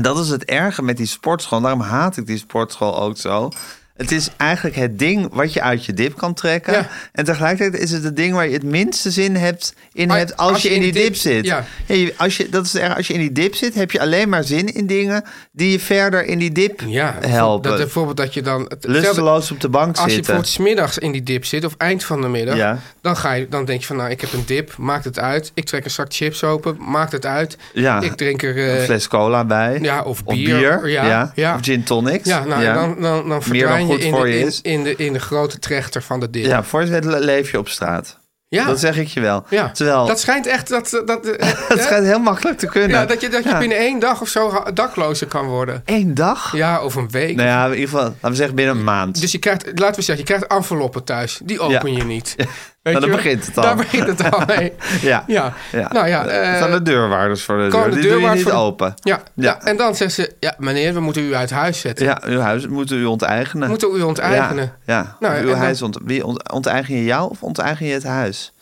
dat is het erge met die sportschool. Daarom haat ik die sportschool ook zo. Het is eigenlijk het ding wat je uit je dip kan trekken. Ja. En tegelijkertijd is het het ding waar je het minste zin hebt in Ah, hebt als, je, in die dip, zit. ja. Hey, als, je, dat is het erge. als je in die dip zit, heb je alleen maar zin in dingen die je verder in die dip ja. helpen. Dat, bijvoorbeeld dat je dan... het- hetzelfde- Lusteloos op de bank Als je zitten. bijvoorbeeld smiddags in die dip zit of eind van de middag, Ja. dan, ga je, dan denk je van nou, ik heb een dip, maakt het uit. Ik trek een zak chips open, maakt het uit. Ja. Ik drink er... een eh, fles cola bij. ja, of Of bier. bier. Ja, Ja, ja. Of gin tonics. ja, nou, Dan, dan, dan dan verdwijn je, goed in, voor de, je in, is. in de, in de grote trechter van de dip. Ja, voor je het le- leef je op straat. Ja. Dat zeg ik je wel. Ja. Terwijl, Dat schijnt echt... Dat, eh, dat, het schijnt heel makkelijk te kunnen. ja, dat je, dat je Ja. binnen één dag of zo ha- daklozer kan worden. Eén dag? Ja, of een week. Nou ja, in ieder geval, laten we zeggen binnen een maand. Dus je krijgt, laten we zeggen, je krijgt enveloppen thuis. Die open Ja. je niet. Weet Nou, je dan wel? begint het al. Daar begint het al mee. Ja. Ja. Nou ja, Er staan eh, de deurwaarders voor de komen deur. Die de doen je deurwaarders niet voor de- open. Ja. Ja. En dan zeggen ze, ja meneer, we moeten u uit huis zetten. Ja, uw huis moeten u onteigenen. We moeten u onteigenen. Ja, ja. Nou, en uw dan- huis ont, wie ont, onteigen je jou of onteigen je het huis?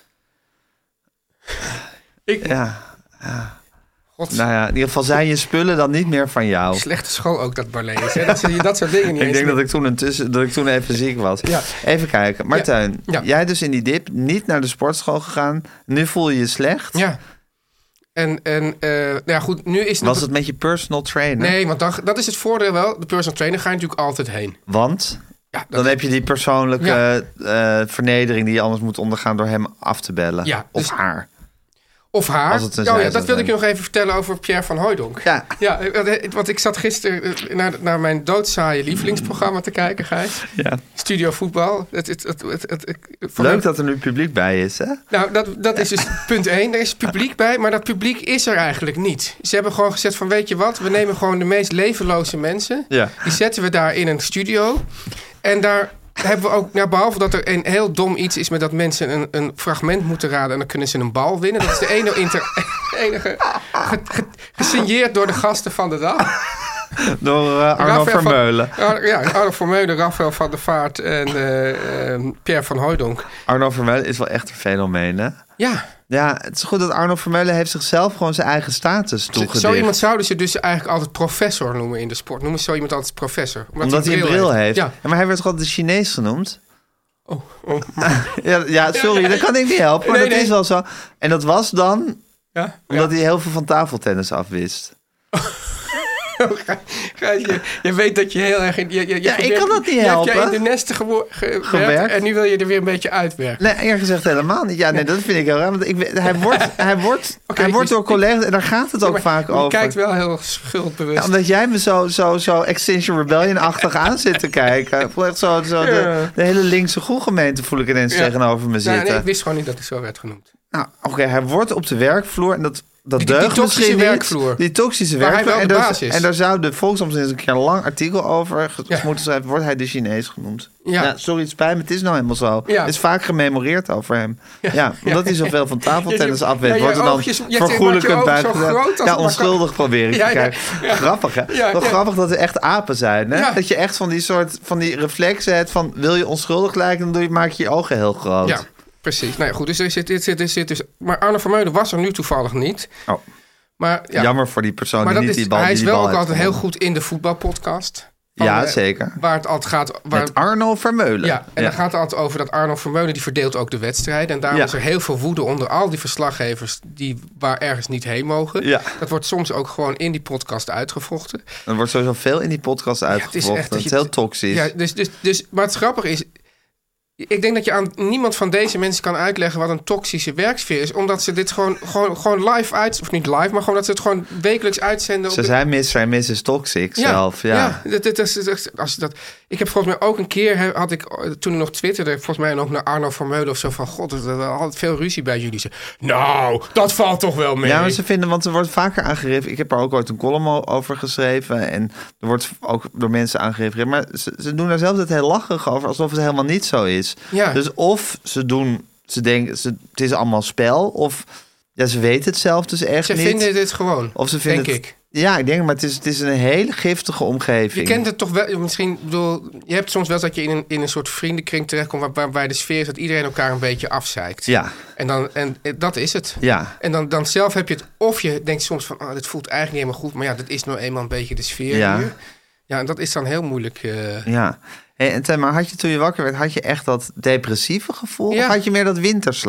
Ik, Ja, God, nou ja, in ieder geval zijn je spullen dan niet meer van jou. slechte school ook dat ballet is. Hè? Dat ze je dat soort dingen niet Ik eens denk meer- dat ik toen, intussen, dat ik toen even ziek was. Ja. Even kijken. Martijn, Ja. jij dus in die dip niet naar de sportschool gegaan. Nu voel je je slecht. Ja. En, en eh, nou ja, goed, nu is het... Was nog- het met je personal trainer? Nee, want dat, dat is het voordeel wel. De personal trainer ga je natuurlijk altijd heen. Want Ja, dat- dan heb je die persoonlijke Ja. eh, vernedering die je anders moet ondergaan door hem af te bellen. Ja, of dus- haar. Of haar. Als het een Oh ja, zij dat zou wilde ik je zijn. nog even vertellen over Pierre van Hooijdonk. Ja. Ja, eh, want ik zat gisteren eh, naar, naar mijn doodzaaie lievelingsprogramma te kijken, Gijs. Ja. Studio voetbal. Het, het, het, het, het- ik- voor Leuk mij- dat er nu publiek bij is, hè? Nou, dat, dat is dus punt één. Er is publiek bij, maar dat publiek is er eigenlijk niet. Ze hebben gewoon gezegd van, weet je wat? We nemen gewoon de meest levenloze mensen. Ja. Die zetten we daar in een studio. En daar hebben we ook, nou, behalve dat er een heel dom iets is... met dat mensen een, een fragment moeten raden... en dan kunnen ze een bal winnen. Dat is de enige, inter, enige ge- ge- gesigneerd door de gasten van de dag. Door eh, Arno Rafael van- Vermeulen. Ar- ja, Arno Vermeulen, Rafael van der Vaart en eh, eh, Pierre van Hooijdonk. Arno Vermeulen is wel echt een fenomeen, hè? Ja, Ja, het is goed dat Arno Vermeulen heeft zichzelf gewoon zijn eigen status zo- toegedicht. zo iemand zouden ze dus eigenlijk altijd professor noemen in de sport. Noemen ze zo iemand altijd professor. Omdat hij een bril heeft. Ja. Ja, maar hij werd gewoon de Chinees genoemd. Oh, oh, maar- Ja, ja sorry, dat kan ik niet helpen, maar Nee, dat nee. is wel zo. En dat was dan ja, ja. omdat hij heel veel van tafeltennis afwist. Ga- ga je, je weet dat je heel erg... In, je, je, je Ja, ik probeert- kan dat niet je hebt helpen. jij in de nesten gewo- ge- gewerkt Gewerkt. en nu wil je er weer een beetje uitwerken. Nee, eerlijk gezegd helemaal niet. Ja, nee, dat vind ik heel raar. Want ik, weet- hij wordt, hij wordt, Oké, hij wordt dus door collega's... En daar gaat het ook Maar vaak je over. kijkt wel heel erg Ja, schuldbewust. omdat jij me zo, zo, zo Extinction Rebellion-achtig aan zit te kijken. Ik voel echt zo, zo de, de hele linkse groegemeente voel ik ineens Ja. tegenover me Nou, zitten. nee, ik wist gewoon niet dat ik zo werd genoemd. Nou, oké, hij wordt op de werkvloer en dat, dat Die- die deugt toxische misschien niet. werkvloer. Die toxische Waar hij werkvloer. wel en, de daar, baas is. en daar zou de Volkskrant eens een keer een lang artikel over ge- Ja. moeten schrijven. Wordt hij de Chinees genoemd? Ja. sorry, het spijt me. Het is nou helemaal zo. Ja. Er is vaak gememoreerd over hem. Ja, omdat hij zoveel van tafeltennis Ja, af weet. je wordt er dan oogjes- je maakt je vergoelijkend ogen zo bijgezet. groot als Ja, het maar kan. onschuldig probeer ik Ja, te ja, kijken. ja. Grappig, hè? Ja, Wel ja. grappig dat er echt apen zijn, hè? Ja. Dat je echt van die soort, van die reflexen hebt van... wil je onschuldig lijken, dan doe je, maak je je ogen heel groot. Ja, precies. Nou ja, goed, dus er zit, er zit, er zit dus, maar Arno Vermeulen was er nu toevallig niet. Oh. Maar, ja, Jammer voor die persoon maar die dat niet is, die bal hij die is die wel bal ook heeft altijd heel gewonnen. goed in de voetbalpodcast. Van, Ja, eh, zeker. Waar het altijd gaat... Waar, Met Arno Vermeulen. Ja, en dan gaat het altijd over dat Arno Vermeulen... die verdeelt ook de wedstrijden. En daarom Ja. is er heel veel woede onder al die verslaggevers... die waar ergens niet heen mogen. Ja. Dat wordt soms ook gewoon in die podcast uitgevochten. Er wordt sowieso veel in die podcast uitgevochten. het is, dat je- heel toxisch. Ja, dus, dus, dus, maar het grappige is... Ik denk dat je aan niemand van deze mensen kan uitleggen... wat een toxische werksfeer is. Omdat ze dit gewoon, gewoon, gewoon live uit... of niet live, maar gewoon dat ze het gewoon wekelijks uitzenden... Ze de- zijn mis, zijn mis is toxic zelf. Ja. dat, dat, dat, dat- als je dat, ik heb volgens mij ook een keer, hè, had ik, eh, toen ik nog twitterde, volgens mij nog naar Arno Vermeulen of zo van, god, er er had veel ruzie bij jullie. Ze, nou, dat valt toch wel mee. Ja, maar ze vinden, want er wordt vaker aangegeven. Ik heb er ook ooit een column o- over geschreven. En er wordt ook door mensen aangegeven. Maar ze, ze doen daar zelf het heel lacherig over, alsof het helemaal niet zo is. Ja. Dus of ze doen, ze denken, ze, het is allemaal spel. Of ja, ze weten het zelf dus echt Ze niet. vinden dit gewoon, of ze vinden denk het- ik. Ja, ik denk, maar het is, het is een hele giftige omgeving. Je kent het toch wel, misschien, ik bedoel, je hebt soms wel dat je in een, in een soort vriendenkring terechtkomt... Waar, waarbij de sfeer is dat iedereen elkaar een beetje afzeikt. Ja, En, dan, en eh, dat is het. ja. En dan, dan zelf heb je het, of je denkt soms van, ah, dit voelt eigenlijk niet helemaal goed... maar ja, dat is nou eenmaal een beetje de sfeer Ja. hier. Ja, en dat is dan heel moeilijk... eh, Ja. Hey, en Tim, maar had je toen je wakker werd, had je echt dat depressieve gevoel? Ja. Of had je meer dat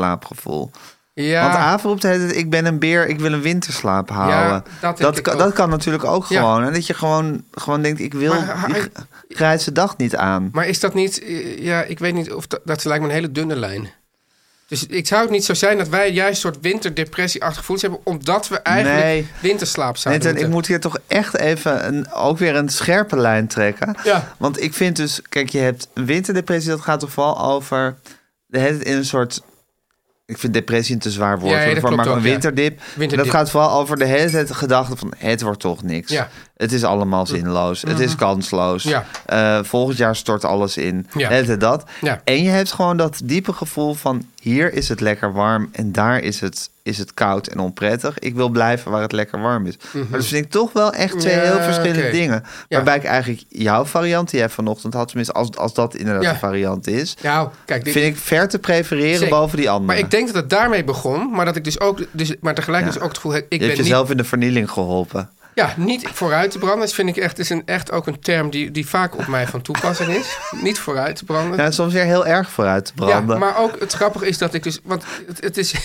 winterslaapgevoel? Ja, Want Aaf roept het, ik ben een beer, ik wil een winterslaap halen. dat denk dat, ik kan, ook. dat kan natuurlijk ook Ja. gewoon. En dat je gewoon, gewoon denkt, ik wil Maar hij- die gr- grijze dag niet aan. maar is dat niet... eh, Ja, ik weet niet of dat... Dat lijkt me een hele dunne lijn. Dus ik zou het niet zo zijn dat wij juist een soort winterdepressieachtig gevoelens hebben... omdat we eigenlijk Nee. winterslaap Nee, zouden Ten, ik moeten. moet hier toch echt even een, ook weer een scherpe lijn trekken. Ja. Want ik vind dus, kijk, je hebt een winterdepressie, dat gaat toch vooral over de hele tijd in een soort. Ik vind depressie een te zwaar woord. Ja, ja, hoor, dat voor- maar klopt een ook, ja. winterdip. Winterdip. Dat gaat vooral over de hele tijd de gedachte van het wordt toch niks. Ja. Mm. Mm-hmm. Het is allemaal zinloos. Het is kansloos. Ja. Eh, volgend jaar stort alles in. Ja. De hele tijd dat. Ja. En je hebt gewoon dat diepe gevoel van hier is het lekker warm en daar is het, is het koud en onprettig. Ik wil blijven waar het lekker warm is. Maar dat vind ik toch wel echt twee Mhm. Ja, heel verschillende oké. dingen. Ja. Waarbij ik eigenlijk jouw variant die jij vanochtend had, tenminste als, als dat inderdaad Ja. de variant is, Nou, kijk, dit, vind ik ver te prefereren Zeker. boven die andere. maar ik denk dat het daarmee begon. Maar dat ik dus ook... Dus, maar tegelijk dus ook het gevoel... heb, Ik je ben hebt niet jezelf in de vernieling geholpen. Ja, niet vooruit te branden. Dat vind ik echt, is een, echt ook een term die, die vaak op mij van toepassing is. Niet vooruit te branden. Ja, en soms weer heel erg vooruit te branden. Ja, maar ook het grappige is dat ik dus... Want het, het is...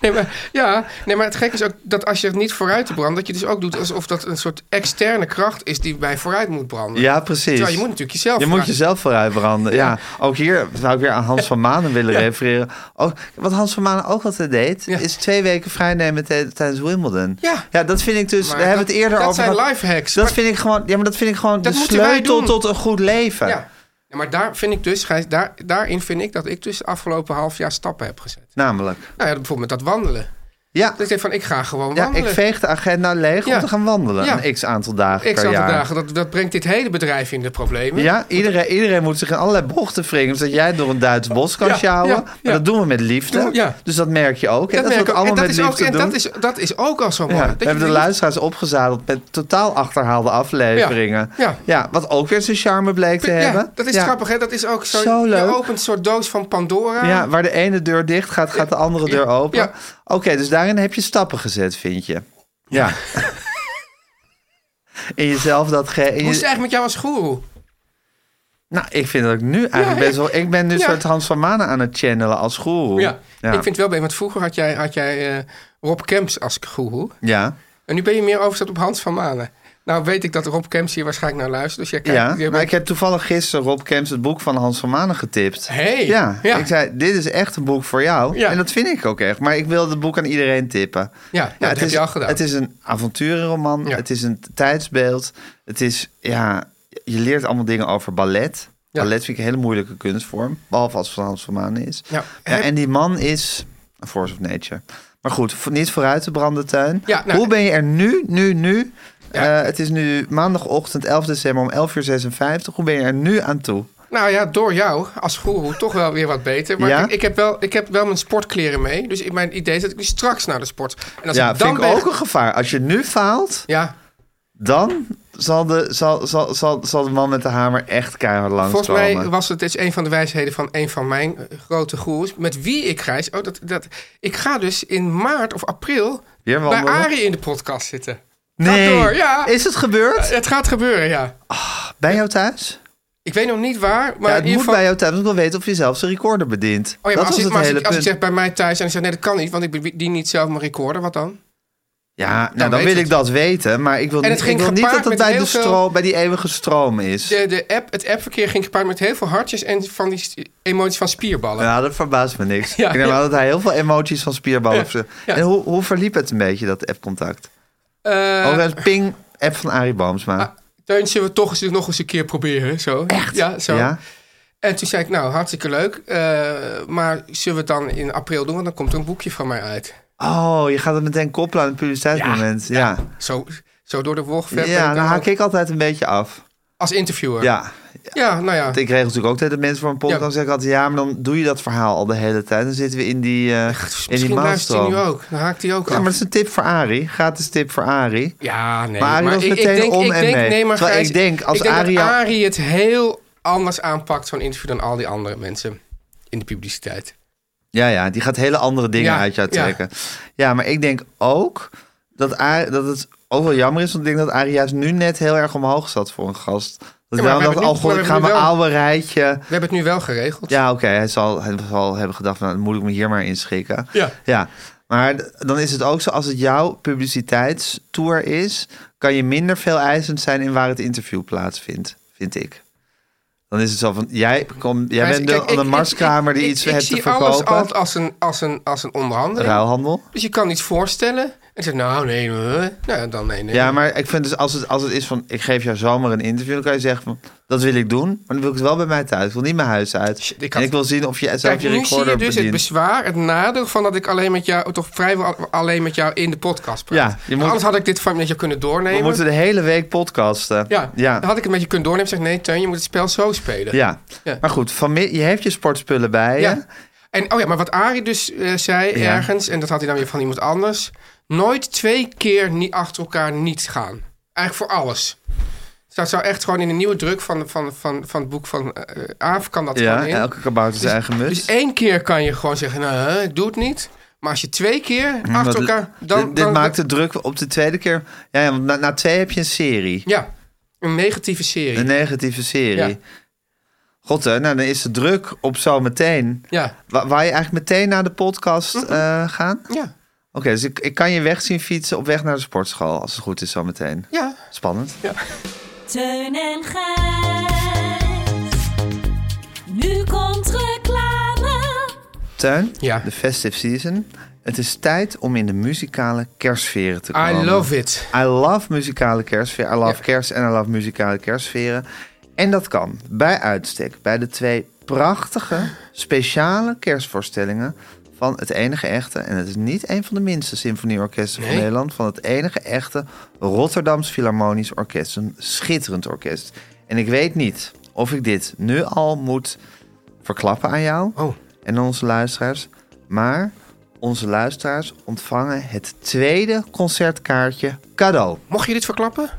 nee, maar, ja, nee, maar het gekke is ook dat als je het niet vooruit te branden... dat je dus ook doet alsof dat een soort externe kracht is... die mij vooruit moet branden. Ja, precies. Terwijl je moet natuurlijk jezelf... Je moet vooruit- jezelf vooruit branden. Ja. Ook hier zou ik weer aan Hans van Manen willen refereren. Ook, wat Hans van Manen ook altijd deed, Ja. is twee weken vrijnemen tij- tijdens Wimbledon. Ja. dat vind ik dus. Maar we hebben dat- het eerder dat over. zijn gehad. lifehacks. Dat Maar- vind ik gewoon. Ja, maar dat vind ik gewoon Dat de moeten wij sleutel doen. tot een goed leven. Ja. Ja, maar daar vind ik dus, Gijs, daar, daarin vind ik dat ik dus afgelopen half jaar stappen heb gezet. Namelijk. Nou ja, bijvoorbeeld dat wandelen. Ja. Dat ik denk van, ik ga Ja, gewoon ik wandelen. veeg de agenda leeg Ja. om te gaan wandelen. Ja. Een x aantal dagen Ik per zat te jaar. dagen, dat, dat brengt dit hele bedrijf in de problemen. Ja, iedereen, iedereen moet zich in allerlei bochten wringen. Zodat jij door een Duits bos kan Ja, sjouwen. ja, ja. Maar dat doen we met liefde. Doe- ja. Dus dat merk je ook. En dat, merk is ik wat ook. allemaal en dat met is ook, liefde en doen. dat is, dat is ook al zo mooi. Ja, Dat we je hebben de denkt, luisteraars opgezadeld met totaal achterhaalde afleveringen. Ja, ja. wat ook weer zijn charme bleek te Ja, hebben. dat is Ja. grappig, hè? Dat is ook zo. Zo leuk. Je opent een soort doos van Pandora. Ja, waar de ene deur dicht gaat, gaat de andere deur open. Ja. Oké, dus daarin heb je stappen gezet, vind je. Ja. in jezelf dat ge... in Hoe is het je- eigenlijk met jou als goeroe? Nou, ik vind dat ik nu eigenlijk Ja, best wel... Ik ben nu een Ja. soort Hans van Manen aan het channelen als goeroe. Ja. Ja. ik vind het wel bij, want vroeger had jij, had jij eh, Rob Kemps als goeroe. Ja. En nu ben je meer overgestapt op Hans van Manen. Nou weet ik dat Rob Kemps hier waarschijnlijk naar luistert. Dus jij kijkt, Ja, jij maar ik bent- heb toevallig gisteren Rob Kemps het boek van Hans van Manen getipt. Hey, ja, ja. ik zei, dit is echt een boek voor jou. Ja. En dat vind ik ook echt. Maar ik wil het boek aan iedereen tippen. Ja, nou, dat het heb is, je al gedaan. Het is een avonturenroman. Ja. Het is een tijdsbeeld. Het is, ja, je leert allemaal dingen over ballet. Ja. Ballet vind ik een hele moeilijke kunstvorm. Behalve als het van Hans van Manen is. Ja. Heb- en die man is een force of nature. Maar goed, voor- niet vooruit te branden tuin. Ja, nou- Hoe ben je er nu, nu, nu... Ja. Eh, het is nu maandagochtend 11 december om 11 uur 56. Hoe ben je er nu aan toe? Nou ja, door jou als goeroe toch wel weer wat beter. Maar Ja? ik, ik, heb wel, ik heb wel mijn sportkleren mee. Dus ik- mijn idee is dat ik nu straks naar de sport. En als ja, ik dan vind ik ben- ook een gevaar. Als je nu faalt, Ja, dan zal de, zal, zal, zal, zal de man met de hamer echt keihard langs volgens komen. mij was het dit is een van de wijsheden van een van mijn eh, grote goeroes. Met wie ik reis. Oh, dat, dat, ik ga dus in maart of april Weer bij wandelen? Arie in de podcast zitten. nee. Gaat door, ja. Eh, Is het gebeurd? Het gaat gebeuren, ja. Bij jou thuis? Ik weet nog niet waar, maar ja, het in moet ieder geval... bij jou thuis, want ik wil weten of je zelf zijn recorder bedient. Oh ja, dat maar als, was ik, het maar als, hele ik, als ik punt. zeg bij mij thuis en ik zeg nee, dat kan niet, want ik bedien niet zelf mijn recorder, wat dan? ja, nou, dan dan, weet wil het. ik dat weten, maar ik wil, En het niet- ging ik wil niet gepaard dat het met bij, heel de veel- stroom, bij die eeuwige stroom is. De, de app, het appverkeer ging gepaard met heel veel hartjes en van die st- emoties van spierballen. Ja, nou, dat verbaast me niks. Ja, ik denk wel ja. dat hij heel veel emoties van spierballen... Ja, ja. En hoe, hoe verliep het een beetje, dat appcontact? Eh, Overigens, ping, app van Arie Boomsma. ah, Teun, zullen we toch eens, nog eens een keer proberen? Zo. Echt? Ja, zo. Ja? En toen zei ik, nou, hartstikke leuk. eh, maar zullen we het dan in april doen? Want dan komt er een boekje van mij uit. Oh, je gaat het meteen koppelen aan het publiciteitsmoment. Ja, ja. Zo, zo door de wolf. ja, dan haak ik altijd een beetje af. Als interviewer. Ja, ja nou ja. want ik regel natuurlijk ook dat mensen voor een podcast Ja. zeggen altijd... ja, maar dan doe je dat verhaal al de hele tijd. Dan zitten we in die, eh in die Misschien luistert hij maalstroom. nu Ja, ook. Dan haakt hij ook maar af. dat is een tip voor Arie. Gratis tip voor Arie. Ja, nee. Maar Arie was ik- ik meteen denk- om ik en denk, mee. Nee, maar Terwijl Gijs, ik denk, als dat Arie- Arie het heel anders aanpakt, zo'n interview, dan al die andere mensen in de publiciteit. Ja, ja, die gaat hele andere dingen Ja, uit jou ja. trekken. Ja. maar ik denk ook dat, Arie, dat het ook wel jammer is... want ik denk dat Arie juist nu net heel erg omhoog zat voor een gast. Dat maar ik we daarom hebben dacht, het oh nu- maar god, ik we ga hebben mijn het wel- oude rijtje... We hebben het nu wel geregeld. Ja, oké. Hij, zal, hij zal hebben gedacht, van, nou, moet ik me hier maar inschikken. Ja. ja. Maar d- dan is het ook zo, als het jouw publiciteitstour is... kan je minder veel eisend zijn in waar het interview plaatsvindt, vind ik. Dan is het zo van, jij, kom, jij Maar bent de, kijk, ik- de ik- marskramer die ik- iets ik, hebt te verkopen. Ik zie alles altijd als een, als een, als een onderhandeling. Ruilhandel. Dus je kan iets voorstellen. En zegt, nou nee, eh, nou ja, dan nee, nee. Ja, maar ik vind dus als het, als het is van, ik geef jou zomaar een interview... dan kan je zeggen van, dat wil ik doen, maar dan wil ik het wel bij mij thuis. Ik wil niet mijn huis uit. Shit, ik En had- ik wil zien of je zelf Kijk, je nu zie recorder je dus het bedient. bezwaar, het nadeel van dat ik alleen met jou, toch vrijwel al- alleen met jou in de podcast praat. Ja, je moet- Anders had ik dit van met je kunnen doornemen. We moeten de hele week podcasten. Ja, ja. dan had ik het met je kunnen doornemen. Zeg, nee, Teun, je moet het spel zo spelen. Ja. Ja. maar goed, vanmi- je hebt je sportspullen bij Ja. je. En oh ja, maar wat Arie dus eh, zei Ja. ergens, en dat had hij dan weer van iemand anders. Nooit twee keer niet achter elkaar niet gaan. Eigenlijk voor alles. Dus dat zou echt gewoon in een nieuwe druk van, van, van, van het boek van eh, Aaf kan dat Ja, gewoon in. elke kabouter zijn eigen muts. Dus één keer kan je gewoon zeggen, nou, hè, ik doe het niet. Maar als je twee keer Want achter elkaar... Hm, dit- Dan, dit dan- maakt de druk op de tweede keer. Ja, ja want na, na twee heb je een serie. Ja, een negatieve serie. Een negatieve serie. Ja. God, hè, nou, dan is de druk op zo meteen. Ja, Wa- waar je eigenlijk meteen naar de podcast eh, gaan. Oké, ja, dus ik, ik kan je weg zien fietsen op weg naar de sportschool. Als het goed is zo meteen. ja. Spannend. Teun en Gijs. Nu komt reclame. Tuin, Ja. de festive season. Het is tijd om in de muzikale kerstsferen te I komen. love it. I love muzikale kerstsfeer. I love Ja. kerst en I love muzikale kerstsferen. En dat kan bij uitstek bij de twee prachtige, speciale kerstvoorstellingen van het enige echte. En het is niet een van de minste symfonieorkesten van Nee. Nederland. Van het enige echte Rotterdams Philharmonisch Orkest. Een schitterend orkest. En ik weet niet of ik dit nu al moet verklappen aan jou Oh. en aan onze luisteraars. Maar onze luisteraars ontvangen het tweede concertkaartje cadeau. Mocht je dit verklappen?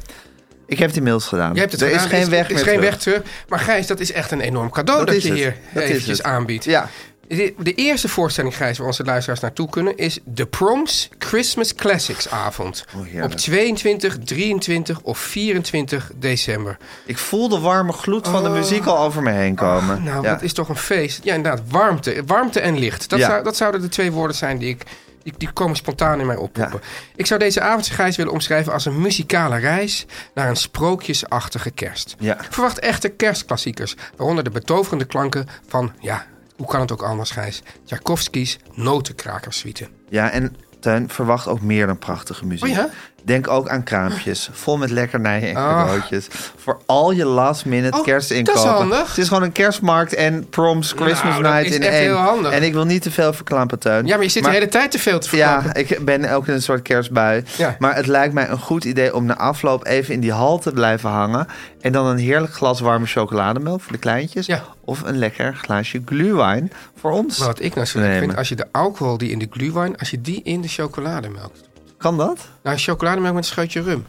Ik heb het inmiddels gedaan. Jij hebt het er gedaan. is geen weg er meer is geen terug. weg terug. Maar Gijs, dat is echt een enorm cadeau dat, Dat is je het. hier Dat is eventjes het. aanbiedt. Ja. De, de eerste voorstelling, Gijs, waar onze luisteraars naartoe kunnen... is de Proms Christmas Classics avond. Oh, heerlijk. op 22, 23 of 24 december. Ik voel de warme gloed van de muziek al over me heen komen. Oh. Nou, Ja. dat is toch een feest. Ja, inderdaad. Warmte, warmte en licht. Dat, Ja. zou, dat zouden de twee woorden zijn die ik... die Die, die komen spontaan in mij oppoppen. Ik zou deze avondreis willen omschrijven als een muzikale reis naar een sprookjesachtige kerst. Ja. Verwacht echte kerstklassiekers, waaronder de betoverende klanken van, ja, hoe kan het ook anders, Gijs? Tchaikovsky's Notenkrakersuite. Ja, en Tuin verwacht ook meer dan prachtige muziek. Oh ja? Denk ook aan kraampjes, vol met lekkernijen en Ah. cadeautjes. Voor al je last minute Oh, kerstinkopen. dat is handig. Het is gewoon een kerstmarkt en proms, Christmas Nou, dat night is in echt één. heel handig. En ik wil niet te veel verklampen, Tuin. Ja, maar je zit de hele tijd te veel te verklappen. Ja, ik ben ook in een soort kerstbui. Ja. Maar het lijkt mij een goed idee om na afloop even in die hal te blijven hangen. En dan een heerlijk glas warme chocolademelk voor de kleintjes. Ja. Of een lekker glaasje glühwein voor ons. Maar wat ik nou zo Nee, leuk vind, maar- als je de alcohol die in de glühwein, als je die in de chocolademelk doet. Kan dat? Nou, chocolademelk met een scheutje rum.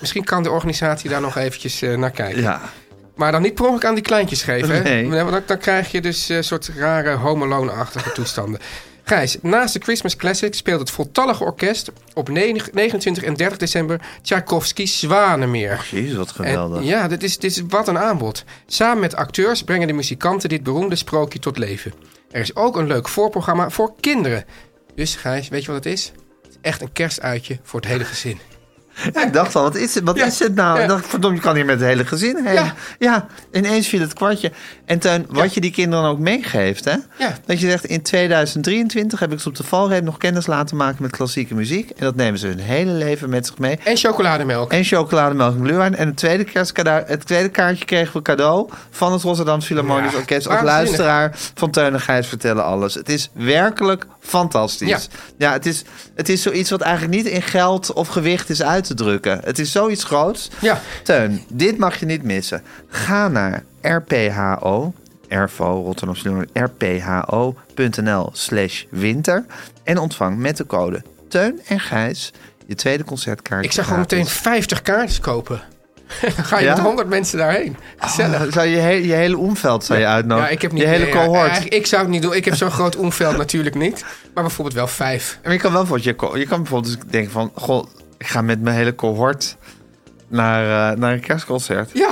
Misschien kan de organisatie daar nog eventjes eh, naar kijken. Ah. Ja. Maar dan niet per ongeluk aan die kleintjes geven. hè? Nee. Want dan, dan krijg je dus een soort rare homoloonachtige toestanden. Gijs, naast de Christmas Classic speelt het voltallige orkest op 9 29 en 30 december Tchaikovsky's Zwanenmeer. Jezus, wat En- geweldig. ja, dit is, dit is wat een aanbod. Samen met acteurs brengen de muzikanten dit beroemde sprookje tot leven. Er is ook een leuk voorprogramma voor kinderen. Dus Gijs, weet je wat het is? Het is echt een kerstuitje voor het hele gezin. Ja, ik dacht al, wat is dit, wat Ja, is dit nou? ja. Ik dacht, verdomd, je kan hier met het hele gezin heen. Ja. Ja, ineens viel het kwartje. En Tuin, wat je die kinderen ook meegeeft, hè? Ja. Dat je zegt, in 2023 heb ik ze op de valreep nog kennis laten maken met klassieke muziek. En dat nemen ze hun hele leven met zich mee. En chocolademelk. En chocolademelk en glühwein. En het tweede, kerstcadeau, het tweede kaartje kregen we cadeau van het Rotterdam Philharmonisch Ja, Orkest. Als waanzinnig. luisteraar van Teun en Gijs vertellen alles. Het is werkelijk fantastisch. Ja. Ja, het, is, het is zoiets wat eigenlijk niet in geld of gewicht is uit te drukken. Het is zoiets groots. Ja. Teun, dit mag je niet missen. Ga naar RPHO. RVO, Rotterdam Philharmonisch, rpho.nl slash winter. En ontvang met de code Teun en Gijs je tweede concertkaartje. Ik zag gewoon gratis. meteen 50 kaartjes kopen. Dan ga je Ja? met 100 mensen daarheen. Gezellig. Ah, zou je, he- je hele omveld zou je uitnodigen. ja, ik heb niet, Oh. je hele nee, ja, cohort. eigenlijk, ik zou het niet doen. Ik heb zo'n groot omveld natuurlijk niet. Maar bijvoorbeeld wel vijf. Maar je kan wel bijvoorbeeld, je, co- je kan bijvoorbeeld dus denken van... Goh, ik ga met mijn hele cohort naar, eh, naar een kerstconcert. Ja,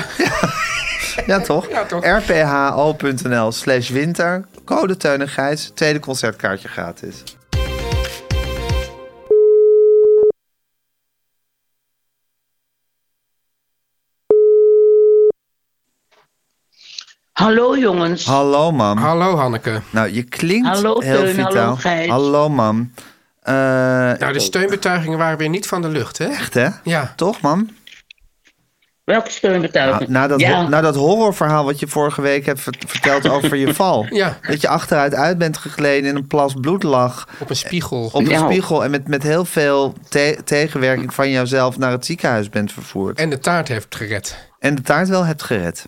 Ja, toch? Ja, toch. rpho.nl slash winter. Code Teun en Gijs. Tweede concertkaartje gratis. Hallo jongens. Hallo, mam. hallo Hanneke. nou, je klinkt Hallo, heel Teun. vitaal. Hallo, Gijs. Hallo, mam. Eh, Nou, de steunbetuigingen waren weer niet van de lucht, hè? Echt, hè? Ja. Toch, mam? Welke steunbetuiging? Na dat, ja. ho- na dat horrorverhaal wat je vorige week hebt ver- verteld over je val. Ja. Dat je achteruit uit bent gegleden in een plas bloed lag. Op een spiegel. Op een Ja. spiegel en met, met heel veel te- tegenwerking van jouzelf naar het ziekenhuis bent vervoerd. En, En de taart heeft gered. de taart wel hebt gered.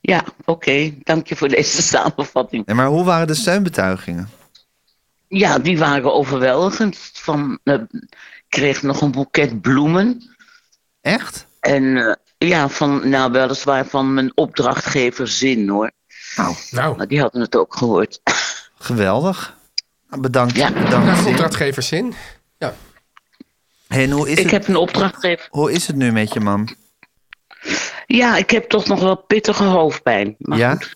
ja, oké. Dank je voor deze samenvatting. Ja, maar hoe waren de steunbetuigingen? Ja, die waren overweldigend. Van, eh, ik kreeg nog een boeket bloemen. Echt? En eh, ja, van, nou weliswaar van mijn opdrachtgever Zin hoor. Nou, Nou, Maar die hadden het ook gehoord. geweldig. Nou, Bedankt. Ja. bedankt naar Tim. opdrachtgevers in. Ja. Hey, En hoe is, Ik het, heb een opdrachtgever. hoe is het nu met je mam? Ja, ik heb toch nog wel pittige hoofdpijn. Maar ja? goed.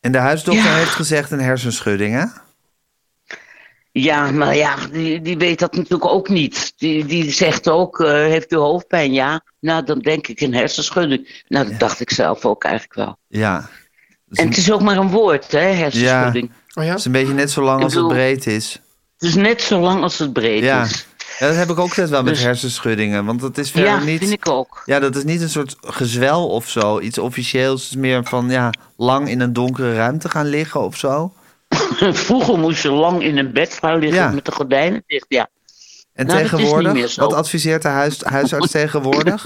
En de huisdokter Ja. heeft gezegd een hersenschudding, hè? Ja, maar ja, die, die weet dat natuurlijk ook niet. Die, die zegt ook, eh, heeft u hoofdpijn? Ja. Nou, dan denk ik een hersenschudding. Nou, dat dacht ik zelf ook eigenlijk wel. Ja. En het is ook maar een woord, hè, hersenschudding. Oh ja? Het is een beetje net zo lang Ik als het bedoel- breed is. Het is net zo lang als het breed Ja. is. Ja, dat heb ik ook altijd wel met Dus- hersenschuddingen. Want dat is verder Ja, niet... vind ik ook. Ja, dat is niet een soort gezwel of zo. Iets officieels. Het is meer van ja, lang in een donkere ruimte gaan liggen of Nou, zo. Vroeger moest je lang in een bed gaan liggen Ja. met de gordijnen dicht. Ja. En Nou, dat is niet meer tegenwoordig, zo. wat adviseert de huis, huisarts tegenwoordig?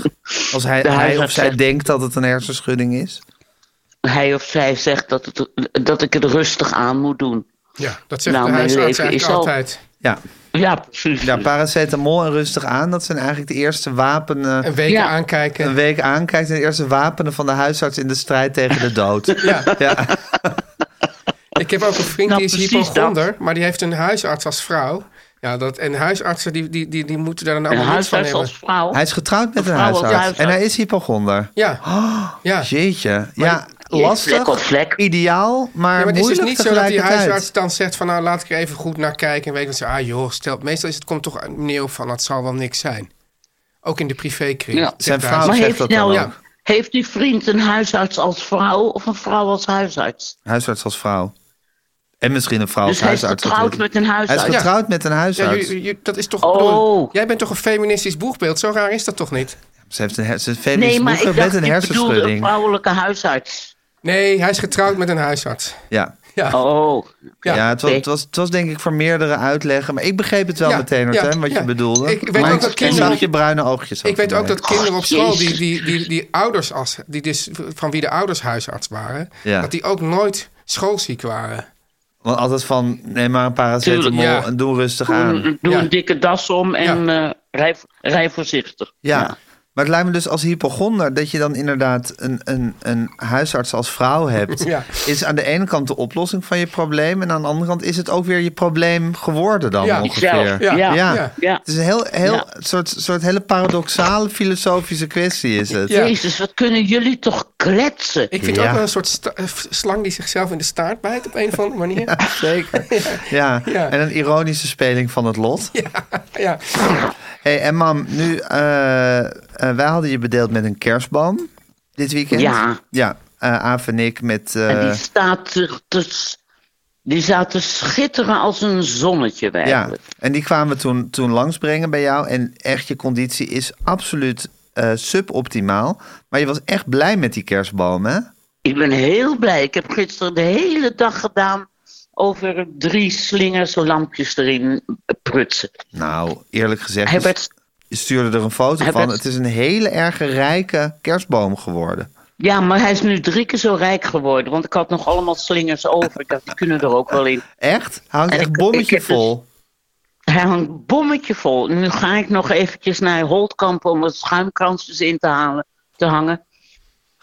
Als hij, De hij of huisarts zij zegt- denkt dat het een hersenschudding is. Hij of zij zegt dat, het, dat ik het rustig aan moet doen. ja, dat zegt Nou, de mijn huisarts leven eigenlijk is al- altijd. Ja, Ja, precies. ja paracetamol en rustig aan. Dat zijn eigenlijk de eerste wapenen. Een week Ja. aankijken. Een week aankijkt en de eerste wapenen van de huisarts in de strijd tegen de dood. Ja. Ja, Ik heb ook een vriend Nou, die is precies dat. hypochonder, maar die heeft een huisarts als vrouw. Ja, dat, en huisartsen die, die, die, die moeten daar dan Een allemaal niets van huisarts hebben. als vrouw. hij is getrouwd met een Vrouw als huisarts. huisarts. En hij is hypochonder. Ja. ja. Oh, Jeetje. Maar Ja, lastig, vlek op vlek. ideaal, maar, Ja, maar het is dus moeilijk niet zo dat die tegelijkertijd. huisarts dan zegt van nou laat ik er even goed naar kijken en weet wat ze ah joh stelt meestal is het komt toch neer op van het zal wel niks zijn ook in de privékring Ja. zegt Zijn de vrouw huisarts. maar Ah, zegt heeft, dat nou, dan ook. heeft die vriend een huisarts als vrouw of een vrouw als huisarts? Huisarts als vrouw. En misschien een vrouw als dus hij is huisarts. getrouwd natuurlijk. met een Hij is huisarts. Ja. getrouwd met een ja, huisarts. ju- ju- dat is toch Oh. jij bent toch een feministisch boegbeeld zo raar is dat toch niet Ze heeft een, her- ze is feminist Nee, maar ik met een dacht, ik bedoelde een hersenschudding. vrouwelijke huisarts. nee hij is getrouwd met een huisarts Ja. ja Oh, Ja, Ja, het, was, oké. het, was, het was denk ik voor meerdere uitleggen. Maar ik begreep het wel Ja, meteen, ja, Martijn, wat ja. je bedoelde. Ik weet Maar ook ik dat zag kinderen- je bruine oogjes. Ik weet ook dat kinderen... kinderen op school, die, jezus. die, die, die ouders, als, die dus, van wie de ouders huisarts waren, Ja. dat die ook nooit schoolziek waren. Want altijd van, neem maar een paracetamol Tuurlijk, ja. en doe rustig aan. doe, doe Ja. een dikke das om en eh, rij, rij voorzichtig. Nou. Ja. Maar het lijkt me dus als hypochonder dat je dan inderdaad een, een, een huisarts als vrouw hebt. Ja. Is aan de ene kant de oplossing van je probleem. En aan de andere kant is het ook weer je probleem geworden dan Ja. ongeveer. Zelf, ja. Ja. Ja. Ja. Het is een heel, heel Ja. soort, soort hele paradoxale filosofische kwestie is het. Ja. Jezus, wat kunnen jullie toch kletsen? Ik vind Ja. ook wel een soort sta- eh, slang die zichzelf in de staart bijt op een of andere manier. Ja, Zeker. Ja. Ja. en een ironische speling van het lot. ja. hey, en mam, nu, eh, eh, wij hadden je bedeeld met een kerstboom dit weekend. Ja. Ja, eh, Aaf en ik met... eh, En die staat zich te, s- die staat te schitteren als een zonnetje bij. ja, en die kwamen we toen, toen langsbrengen bij jou. En echt, je conditie is absoluut eh, suboptimaal. Maar je was echt blij met die kerstboom, hè? Ik ben heel blij. Ik heb gisteren de hele dag gedaan over drie slingers lampjes erin prutsen. Nou, eerlijk gezegd, Hij je werd- stuurde er een foto Hij van. werd- Het is een hele erg rijke kerstboom geworden. Ja, maar hij is nu drie keer zo rijk geworden. Want ik had nog allemaal slingers over. Ik dacht, die kunnen er ook wel in. Echt? Hangt En echt ik- ik bommetje heb dus- vol. Hij hangt een bommetje vol. Nu ga ik nog eventjes naar Holtkamp om wat schuimkransjes in te, halen, te hangen.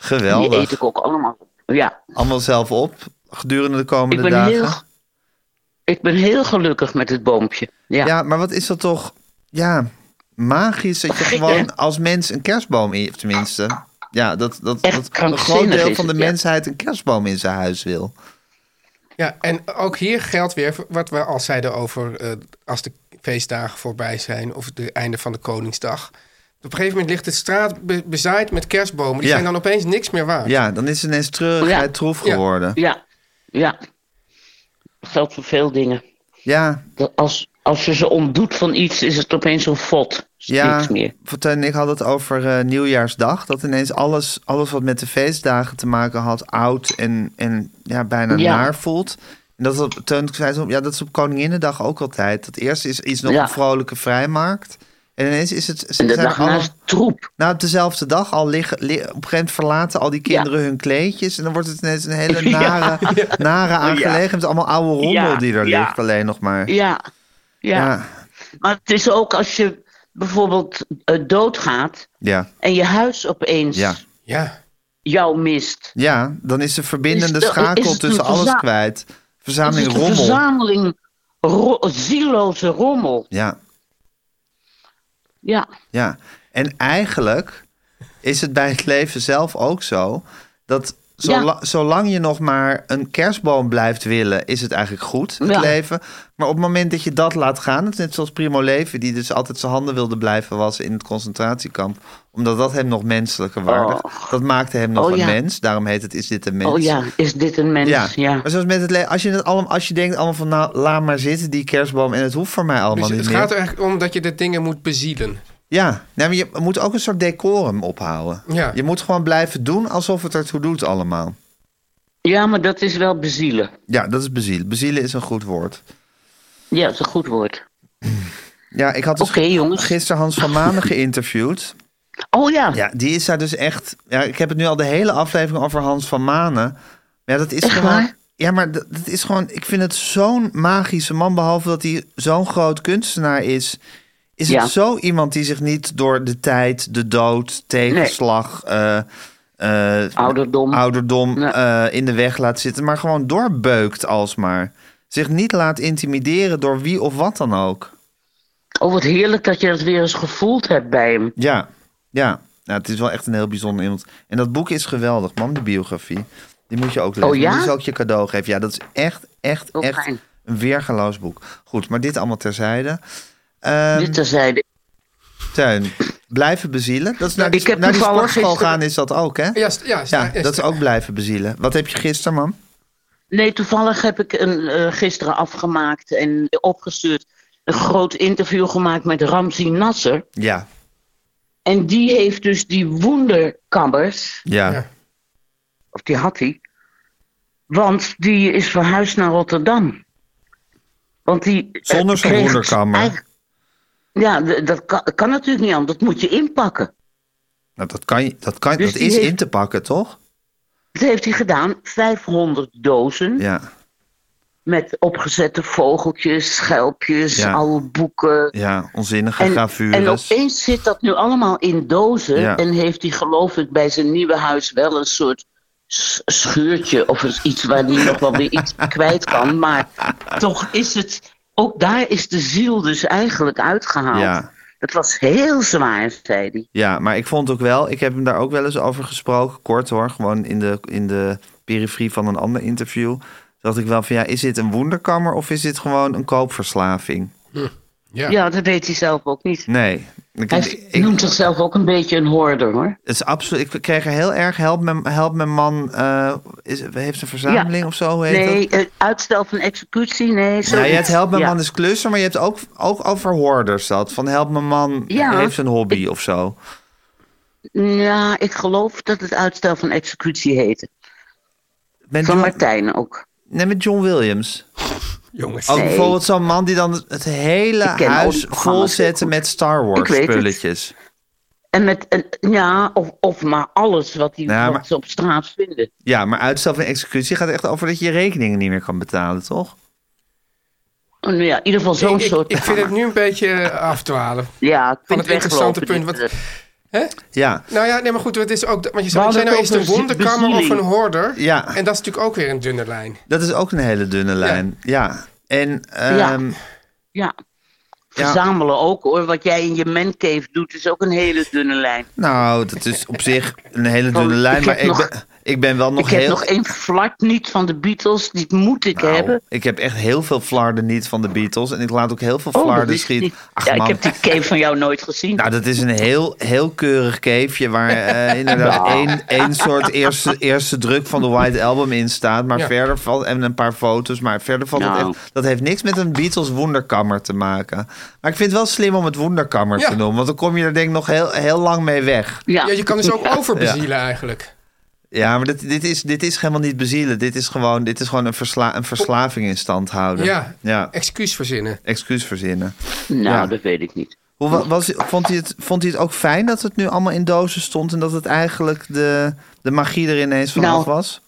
Die eet Geweldig. ik ook allemaal. Ja, Allemaal zelf op gedurende de komende ik ben, dagen. heel, ik ben heel gelukkig met het boompje. Ja, Ja, maar wat is dat toch? Ja, magisch dat je Gek, hè? gewoon als mens een kerstboom in, of tenminste. Ja, dat, dat, Echt dat een krankzinnig groot deel is van de het, ja. mensheid een kerstboom in zijn huis wil. ja, en ook hier geldt weer wat we al zeiden over eh, als de feestdagen voorbij zijn of het einde van de Koningsdag. Op een gegeven moment ligt de straat be- bezaaid met kerstbomen. Die Ja. zijn dan opeens niks meer waard. Ja, dan is het ineens treurigheid Ja. troef Ja. geworden. Ja. ja. ja. Dat geldt voor veel dingen. ja. Dat als, als je ze ontdoet van iets, is het opeens een vod. Is het niks meer. Fortuyn en ik hadden het over eh, nieuwjaarsdag. Dat ineens alles, alles wat met de feestdagen te maken had, oud en, en ja, bijna Ja. naar voelt. En dat is op, Teun zei zo, ja, dat is op Koninginnedag ook altijd. Dat eerste is, is nog Ja. een vrolijke vrijmarkt. En ineens is het... En de zijn dag alle- naast troep. Nou, op dezelfde dag al liggen, li- op een gegeven moment verlaten al die kinderen hun kleedjes. En dan wordt het ineens een hele Ja. nare, nare aangelegenheid. Het is allemaal oude rommel Ja, die er ja. ligt, alleen nog maar. Ja. ja. Ja, Maar het is ook als je bijvoorbeeld eh, doodgaat ja, en je huis opeens Ja. ja. jou mist. ja. Dan is de verbindende Is de- is schakel het tussen een alles verza- kwijt. Het is Verzameling een rommel. verzameling ro- zieloze rommel. Ja, Ja. ja. En eigenlijk is het bij het leven zelf ook zo dat. zola- Zolang je nog maar een kerstboom blijft willen, is het eigenlijk goed, het Ja. leven. Maar op het moment dat je dat laat gaan, het is net zoals Primo Leven, die dus altijd zijn handen wilde blijven wassen in het concentratiekamp, omdat dat hem nog menselijker waardig. Dat maakte hem nog Oh, een ja. mens, daarom heet het Is dit een mens? Oh ja, is dit een mens? Ja. ja. Maar zoals met het leven, als je, het allemaal, als je denkt allemaal van, nou, laat maar zitten die kerstboom en het hoeft voor mij allemaal niet Dus het meer. gaat er eigenlijk om dat je de dingen moet bezielen. Ja, nou, maar je moet ook een soort decorum ophouden. Ja. Je moet gewoon blijven doen alsof het ertoe doet allemaal. maar dat is wel bezielen. Ja, dat is bezielen. Bezielen is een goed woord. Ja, dat is een goed woord. Ja, ik had dus Oké, jongens. gisteren Hans van Manen geïnterviewd. Oh ja, Ja, die is daar dus echt... Ja, ik heb het nu al de hele aflevering over Hans van Manen. Ja, dat is gewoon... waar? Ja, maar dat, dat is gewoon... Ik vind het zo'n magische man, behalve dat hij zo'n groot kunstenaar is... Is Ja. het zo iemand die zich niet door de tijd, de dood, tegenslag... eh, eh, ouderdom. ouderdom Nee. eh, in de weg laat zitten, maar gewoon doorbeukt alsmaar. Zich niet laat intimideren door wie of wat dan ook. Oh, wat heerlijk dat je dat weer eens gevoeld hebt bij hem. Ja, ja. Nou, het is wel echt een heel bijzonder iemand. En dat boek is geweldig, man, de biografie. Die moet je ook lezen. Oh, ja? Die zal ik je cadeau geven. Ja, dat is echt, echt, Oh, echt fijn. een weergaloos boek. Goed, maar dit allemaal terzijde. Ehm, Dit terzijde. Teun, blijven bezielen. Dat is naar Nou, die, ik heb naar die toevallig sportschool gisteren- gaan is dat ook, hè? Ja, st- ja, st- Ja, ja, dat is st- ook blijven bezielen. Wat heb je gisteren, man? Nee, toevallig heb ik een, eh, gisteren afgemaakt en opgestuurd. Een groot interview gemaakt met Ramzi Nasser. Ja, En die heeft dus die wonderkabbers. ja. Ja. Of die had hij. Want die is verhuisd naar Rotterdam. Want die. eh, Zonder zo'n kreeg- wonderkammer. eigen- Ja, d- dat kan, kan natuurlijk niet anders. Dat moet je inpakken. Nou, dat, kan, je- dat, kan, Dus dat die is heeft- in te pakken, toch? Dat heeft hij gedaan. 500 dozen. Ja, Met opgezette vogeltjes, schelpjes, Ja. oude boeken. ja onzinnige en gravures. opeens zit dat nu allemaal in dozen. Ja. En heeft hij geloof ik bij zijn nieuwe huis wel een soort s- schuurtje of eens iets waar hij nog wel weer iets kwijt kan. Maar toch is het, ook daar is de ziel dus eigenlijk uitgehaald. Ja. Het was heel zwaar, zei hij. Ja, maar ik vond ook wel, ik heb hem daar ook wel eens over gesproken, kort hoor, gewoon in de, in de periferie van een ander interview. Dacht ik wel van ja, is dit een wonderkammer of is dit gewoon een koopverslaving? Ja. Ja. dat weet hij zelf ook niet. Nee. Ik, Hij ik, noemt zichzelf ook een beetje een hoorder hoor. het is absoluut, ik kreeg er heel erg, help mijn, help mijn man, eh, is, heeft een verzameling of zo, hoe heet dat? Nou, Nee, eh, uitstel van executie, nee. Ja, zoiets. je hebt help mijn Ja. man dus- is klussen, maar je hebt ook, ook over hoorders dat. Van help mijn man Ja. heeft een hobby of zo. Ja, ik geloof dat het uitstel van executie heette. Met Van John, Martijn ook. nee, met John Williams. jongens. Ook Nee. bijvoorbeeld zo'n man die dan het hele Ik ken al die huis programma's vol zetten heel met goed. Star Ik Wars weet het. spulletjes. En met een, ja, of, of maar alles wat, die, Ja, wat maar- ze op straat vinden. Ja, maar uitstel van executie gaat echt over dat je je rekeningen niet meer kan betalen, toch? Nou ja, in ieder geval zo'n Ik, ik- soort. ik vind het nu een beetje eh, afdwalen. ja, ik van vind het het interessante weglopen, punt, dit, eh, Ja, Nou ja, nee, maar goed, het is ook. Want je We zei, ik zei nou, is hadden het het een over de wonderkamer of een bezieling. hoorder? Ja. En dat is natuurlijk ook weer een dunne lijn. dat is ook een hele dunne lijn. Ja. En Ja. ehm, eh, ja. Verzamelen ook hoor. Wat jij in je mancave doet is ook een hele dunne lijn. nou, dat is op zich een hele dunne Oh, ik lijn. heb maar ik, nog- ben, ik ben wel nog ik heel... heb nog één flart niet van de Beatles. Die moet ik Nou, hebben. Ik heb echt heel veel flarden niet van de Beatles. En ik laat ook heel veel Oh, dat flarden wist ik schieten. niet. Ach ja, man, ik heb die cave van jou nooit gezien. Nou, dat is een heel, heel keurig keefje waar eh, inderdaad één, één soort eerste, eerste druk van de White Album in staat. Maar Ja. verder valt, en een paar foto's, maar verder valt Nou. het echt, dat heeft niks met een Beatles wonderkammer te maken. Maar ik vind het wel slim om het wonderkammer Ja. te noemen, want dan kom je er denk ik nog heel, heel lang mee weg. ja. Ja, je kan dus ook overbezielen eigenlijk. Ja, maar dit, dit, is, dit is helemaal niet bezielen. Dit is gewoon, dit is gewoon een, versla, een verslaving in stand houden. Ja. ja. Excuus verzinnen. Excuus verzinnen. nou ja. dat weet ik niet. Hoe wa- was, vond, hij het, vond hij het ook fijn dat het nu allemaal in dozen stond en dat het eigenlijk de, de magie er ineens vanaf Nou. was?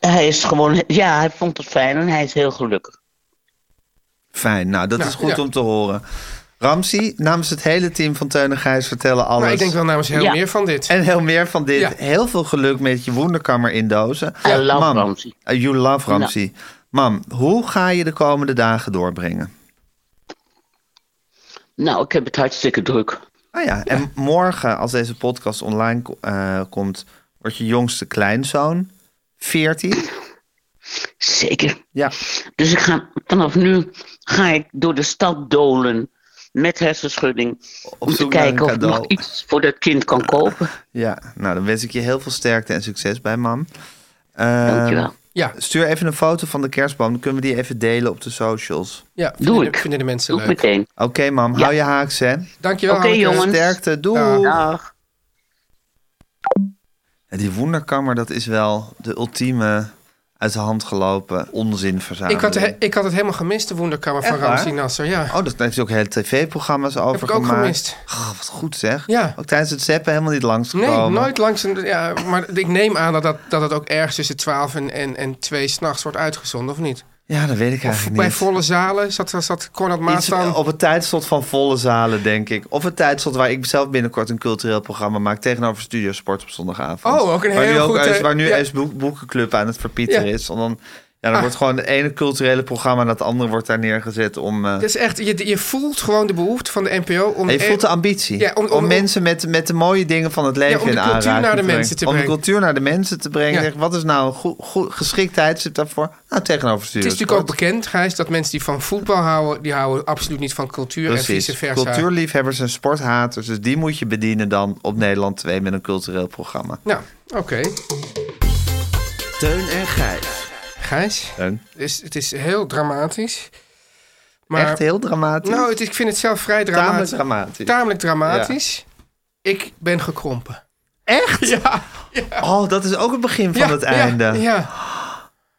Hij is gewoon, ja, hij vond het fijn en hij is heel gelukkig. Fijn, nou dat Nou, is goed ja. om te horen. Ramsi, namens het hele team van Teun en Gijs vertellen alles. Maar ik denk wel namens heel Ja. meer van dit. En heel meer van dit. Ja. Heel veel geluk met je wonderkamer in dozen. I love Mam, Ramsi. uh, You love Ramsi. Mam, hoe ga je de komende dagen doorbrengen? Nou, ik heb het hartstikke druk. Ah ja, en morgen als deze podcast online ko- eh, komt, wordt je jongste kleinzoon 14. Zeker. Ja. Dus ik ga, vanaf nu ga ik door de stad dolen met hersenschudding. Op om te zoek naar kijken een of ik nog cadeau. iets voor dat kind kan kopen. Ja, nou dan wens ik je heel veel sterkte en succes bij mam. Eh, Dankjewel. Ja, Stuur even een foto van de kerstboom, dan kunnen we die even delen op de socials. ja vinden, ik. vinden de mensen Doe ik leuk. meteen. Oké mam, hou je haaks hè. Dankjewel. Oké, Hanneke. jongen. Sterkte, doei. Dag. Ja, Die wonderkamer, dat is wel de ultieme uit de hand gelopen onzinverzameling. Ik had, he- ik had het helemaal gemist, de wonderkamer van Echt waar? Ramzi Nasser. Ja. Oh, dat heeft ook hele tv-programma's over Heb ik ook gemaakt. gemist. Oh, wat goed zeg. Ja. Ook tijdens het zeppen helemaal niet Nee, langsgekomen. nooit langs een... Ja, maar ik neem aan dat, dat, dat het ook ergens tussen 12 en, en, en 2 s'nachts wordt uitgezonden, of niet? Ja, dat weet ik Of eigenlijk bij niet. volle zalen zat, zat Cornel Maas Iets dan... op het tijdslot van volle zalen, denk ik. Of het tijdslot waar ik zelf binnenkort een cultureel programma maak tegenover Studio Sport op zondagavond. Oh, ook een waar heel nu ook goed, eens- eh, Waar nu ja. eens boek- boekenclub aan het verpieteren Ja. Ah. is. En dan, ja, Ja, dan wordt gewoon het ene culturele programma en dat andere wordt daar neergezet om... eh, Het is echt, je, je voelt gewoon de behoefte van de NPO Dus om... en je voelt de eh, ambitie. Ja, om, om- om- om- mensen met, met de mooie dingen van het leven om de in cultuur aanraking naar de te brengen. mensen te Om de brengen. cultuur naar de mensen te brengen. Ja. Zeg, wat is nou een goe- goe- geschiktheid? Zit daarvoor? Nou, tegenover het is stuursport. natuurlijk ook bekend, Gijs, dat mensen die van voetbal houden... die houden absoluut niet van cultuur en Precies. vice versa. Cultuurliefhebbers en sporthaters. Dus die moet je bedienen dan op Nederland 2 met een cultureel programma. Nou, oké. Teun en Gijs. Gijs, En? het is, het is heel dramatisch. Maar, Echt heel dramatisch. Nou, het is- ik vind het zelf vrij dramatisch. Tamelijk dramatisch. Tamelijk dramatisch. Ik ben gekrompen. Echt? Ja. Oh, dat is ook het begin van ja, het ja, einde. ja.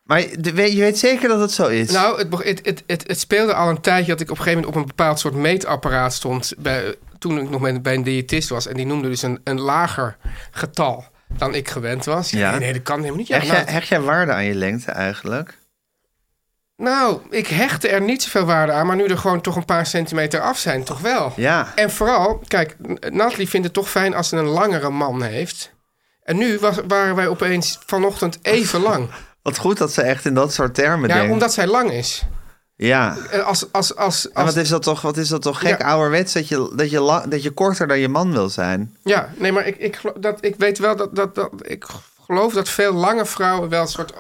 Maar de- we- je weet zeker dat het zo is. Nou, het, beg- het, het, het, het speelde al een tijdje dat ik op een gegeven moment op een bepaald soort meetapparaat stond. Bij, toen ik nog met, bij een diëtist was. En die noemde dus een, een lager getal dan ik gewend was. Ja. Nee, nee, dat kan helemaal niet. Ja, hecht, jij, nou, hecht jij waarde aan je lengte eigenlijk? nou, ik hechtte er niet zoveel waarde aan. Maar nu er gewoon toch een paar centimeter af zijn, toch wel. Ja. En vooral, kijk, Natalie vindt het toch fijn als ze een langere man heeft. En nu was, waren wij opeens vanochtend even lang. Wat goed dat ze echt in dat soort termen Ja, denkt. omdat zij lang is. Ja. En als, als, als, En als, wat is dat toch, wat is dat toch gek Ja. ouderwets dat je, dat, je la- dat je korter dan je man wil zijn? Ja, nee, maar ik, ik, gelo- dat, ik weet wel dat, dat, dat... Ik geloof dat veel lange vrouwen wel een soort oh,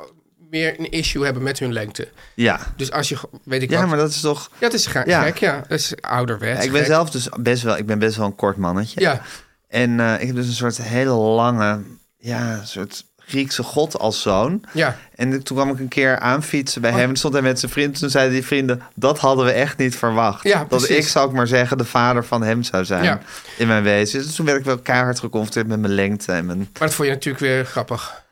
meer een issue hebben met hun lengte. Ja. Dus als je, ge- weet ik Ja, wat... maar dat is toch... Ja, het is ga- Ja. gek, ja. Het is ouderwets. Ja, ik ben gek. zelf dus best wel, ik ben best wel een kort mannetje. Ja, En eh, ik heb dus een soort hele lange, ja, soort Griekse god als zoon. Ja. Oh. En toen kwam ik een keer aanfietsen bij hem. Toen stond hij met zijn vriend. Toen zeiden die vrienden, dat hadden we echt niet verwacht. Ja, dat precies. ik, zou ik maar zeggen, de vader van hem zou zijn Ja. in mijn wezen. Dus toen werd ik wel keihard geconfronteerd met mijn lengte en mijn... maar dat vond je natuurlijk weer grappig.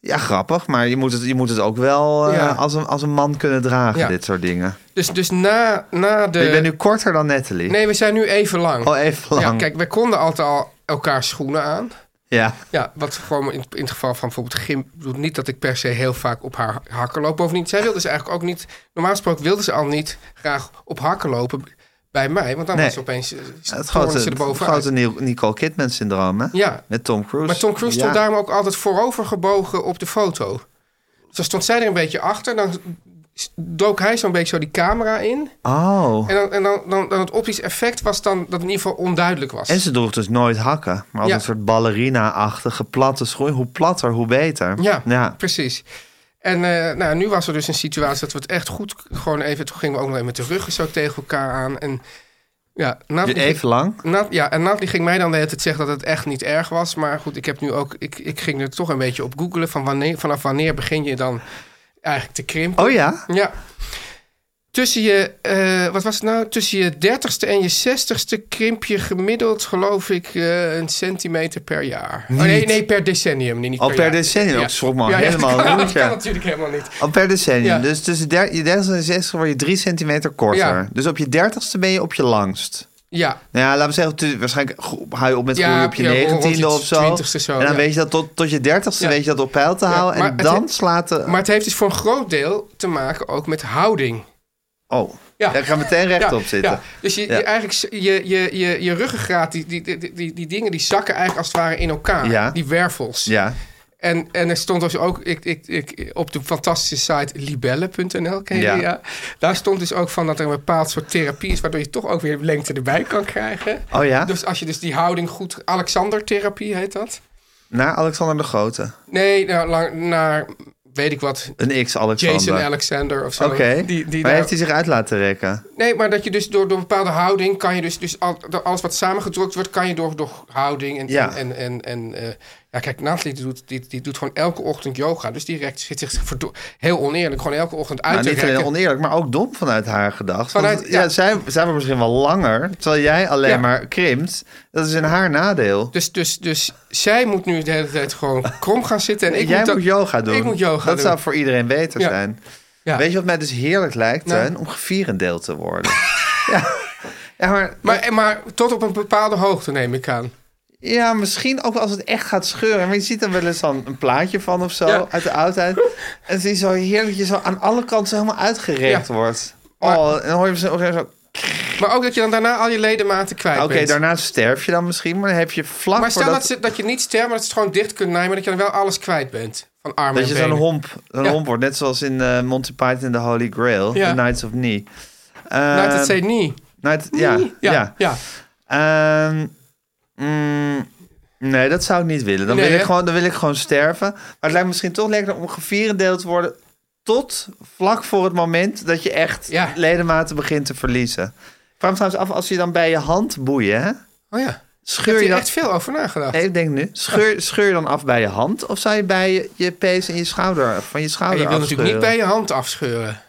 Ja, grappig, maar je moet het, je moet het ook wel eh, Ja. als, een, als een man kunnen dragen, Ja. dit soort dingen. Dus, dus na, na de... ik ben nu korter dan Natalie. Nee, we zijn nu even lang. Al even lang. Ja, kijk, wij konden altijd al elkaar schoenen aan. Ja. Ja, wat gewoon in, in het geval van bijvoorbeeld Gim... Ik bedoel niet dat ik per se heel vaak op haar hakken loop. Bovendien, zij wilde ze eigenlijk ook niet... Normaal gesproken wilde ze al niet graag op hakken lopen bij mij. Want dan Nee. was ze opeens... eh, Het tornen grote, ze er het bovenuit. grote Ni- Nicole Kidman-syndroom, hè? Ja. Met Tom Cruise. Maar Tom Cruise Ja. stond daarom ook altijd voorover gebogen op de foto. Zo stond zij er een beetje achter. Dan s- dook hij zo'n beetje zo die camera in. Oh. En, dan, en dan, dan, dan het optisch effect was dan dat het in ieder geval onduidelijk was. En ze droeg dus nooit hakken, maar als Ja. een soort ballerina-achtige platte schoen. Hoe platter, hoe beter. Ja, ja. precies. En eh, nou, nu was er dus een situatie dat we het echt goed gewoon even... Toen gingen we ook nog even met de ruggen zo tegen elkaar aan. En ja, Natalie, Dus Even lang. Nat, ja, en Natalie ging mij dan de hele tijd zeggen dat het echt niet erg was. Maar goed, ik heb nu ook... Ik, ik ging er toch een beetje op googelen van wanneer, vanaf wanneer begin je dan eigenlijk te krimpen. Oh ja? Ja. Tussen je, eh, wat was het nou? Tussen je dertigste en je zestigste krimp je gemiddeld, geloof ik, eh, een centimeter per jaar. Oh, nee, Niet. nee, per decennium. Nee, niet Al per, per jaar. decennium. Ik schrok me al helemaal dat kan- rond, Dat ja. kan natuurlijk helemaal niet. Al per decennium. Ja. Dus tussen der- je dertigste en zestigste word je drie centimeter korter. Ja. Dus op je dertigste ben je op je langst. Ja, Nou ja, laten we zeggen, tu- waarschijnlijk gro- hou je op met Ja, groeien op je ja, rond je negentiende of zo. 20e zo, En dan ja. weet je dat tot, tot je dertigste Ja. weet je dat op peil te Ja, houden. maar en het dan he- slaat de... maar het heeft dus voor een groot deel te maken ook met houding. Oh, Ja. daar gaan we meteen rechtop Ja, zitten. ja. Dus je, je- Ja. eigenlijk, s- je, je, je, je ruggengraat, die, die, die, die, die dingen, die zakken eigenlijk als het ware in elkaar. Ja. Die wervels. Ja. En, en er stond dus ook ik, ik, ik, op de fantastische site libelle.nl. ken je Ja. die, ja. Daar stond dus ook van dat er een bepaald soort therapie is... waardoor je toch ook weer lengte erbij kan krijgen. Oh ja? Dus als je dus die houding goed... Alexander-therapie heet dat. Naar Alexander de Grote. Nee, nou, lang, naar weet ik wat... Een X Alexander. Jason Alexander of zo. Oké, Die, die maar daar- heeft hij zich uit laten rekken? Nee, maar dat je dus door, door een bepaalde houding kan je dus, dus al, door alles wat samengedrukt wordt, kan je door, door houding en. Ja. en, en, en eh, ja, kijk, Natalie doet, die, die doet gewoon elke ochtend yoga. Dus die rekt, zit zich verdo- heel oneerlijk gewoon elke ochtend uit Nou, te niet alleen rekken. oneerlijk, maar ook dom vanuit haar gedacht. Want, Vanuit- ja. ja. zij, zij wordt misschien wel langer, terwijl jij alleen Ja. maar krimpt. Dat is in haar nadeel. Dus, dus, dus zij moet nu de hele tijd gewoon krom gaan zitten. En ik jij moet, moet, dat- yoga doen. Ik moet yoga dat doen. zou voor iedereen beter Ja. zijn. Ja. Weet je wat mij dus heerlijk lijkt, Nou. Teun? Om gevierendeeld te worden. ja. ja, maar, maar, maar tot op een bepaalde hoogte neem ik aan. ja, misschien ook als het echt gaat scheuren. Maar je ziet dan wel eens dan een plaatje van of zo Ja. uit de oudheid. En zie je zo heerlijk dat je zo aan alle kanten zo helemaal uitgerekt Ja. wordt. Maar- oh, en dan hoor je zo... zo Maar ook dat je dan daarna al je ledematen kwijt Oké, bent. daarna sterf je dan misschien, maar dan heb je vlak Maar stel voordat... dat, ze, dat je niet sterft, maar dat ze het gewoon dicht kunt nijmen... dat je dan wel alles kwijt bent. Van armen Dat en je zo'n benen. homp, zo'n Ja. homp wordt. Net zoals in eh, Monty Python en The Holy Grail. Ja. The Knights of Knee. Eh, Nou, dat zei niet. Knight- ja, ja. Ja, ja. Ehm, mm, nee, dat zou ik niet willen. Dan, Nee, wil ik hè? gewoon, dan wil ik gewoon sterven. Maar het lijkt me misschien toch lekker om gevierendeeld te worden... tot vlak voor het moment dat je echt Ja. ledematen begint te verliezen. Ik vraag me trouwens af, als je dan bij je hand boeien... Hè, Oh ja. Ik scheur heb je hier dan... echt veel over nagedacht. Nee, ik denk nu. Scheur, scheur je dan af bij je hand? Of zou je bij je, je pees en je schouder van je En schouder Oh, je wil natuurlijk niet afscheuren? bij je hand afscheuren.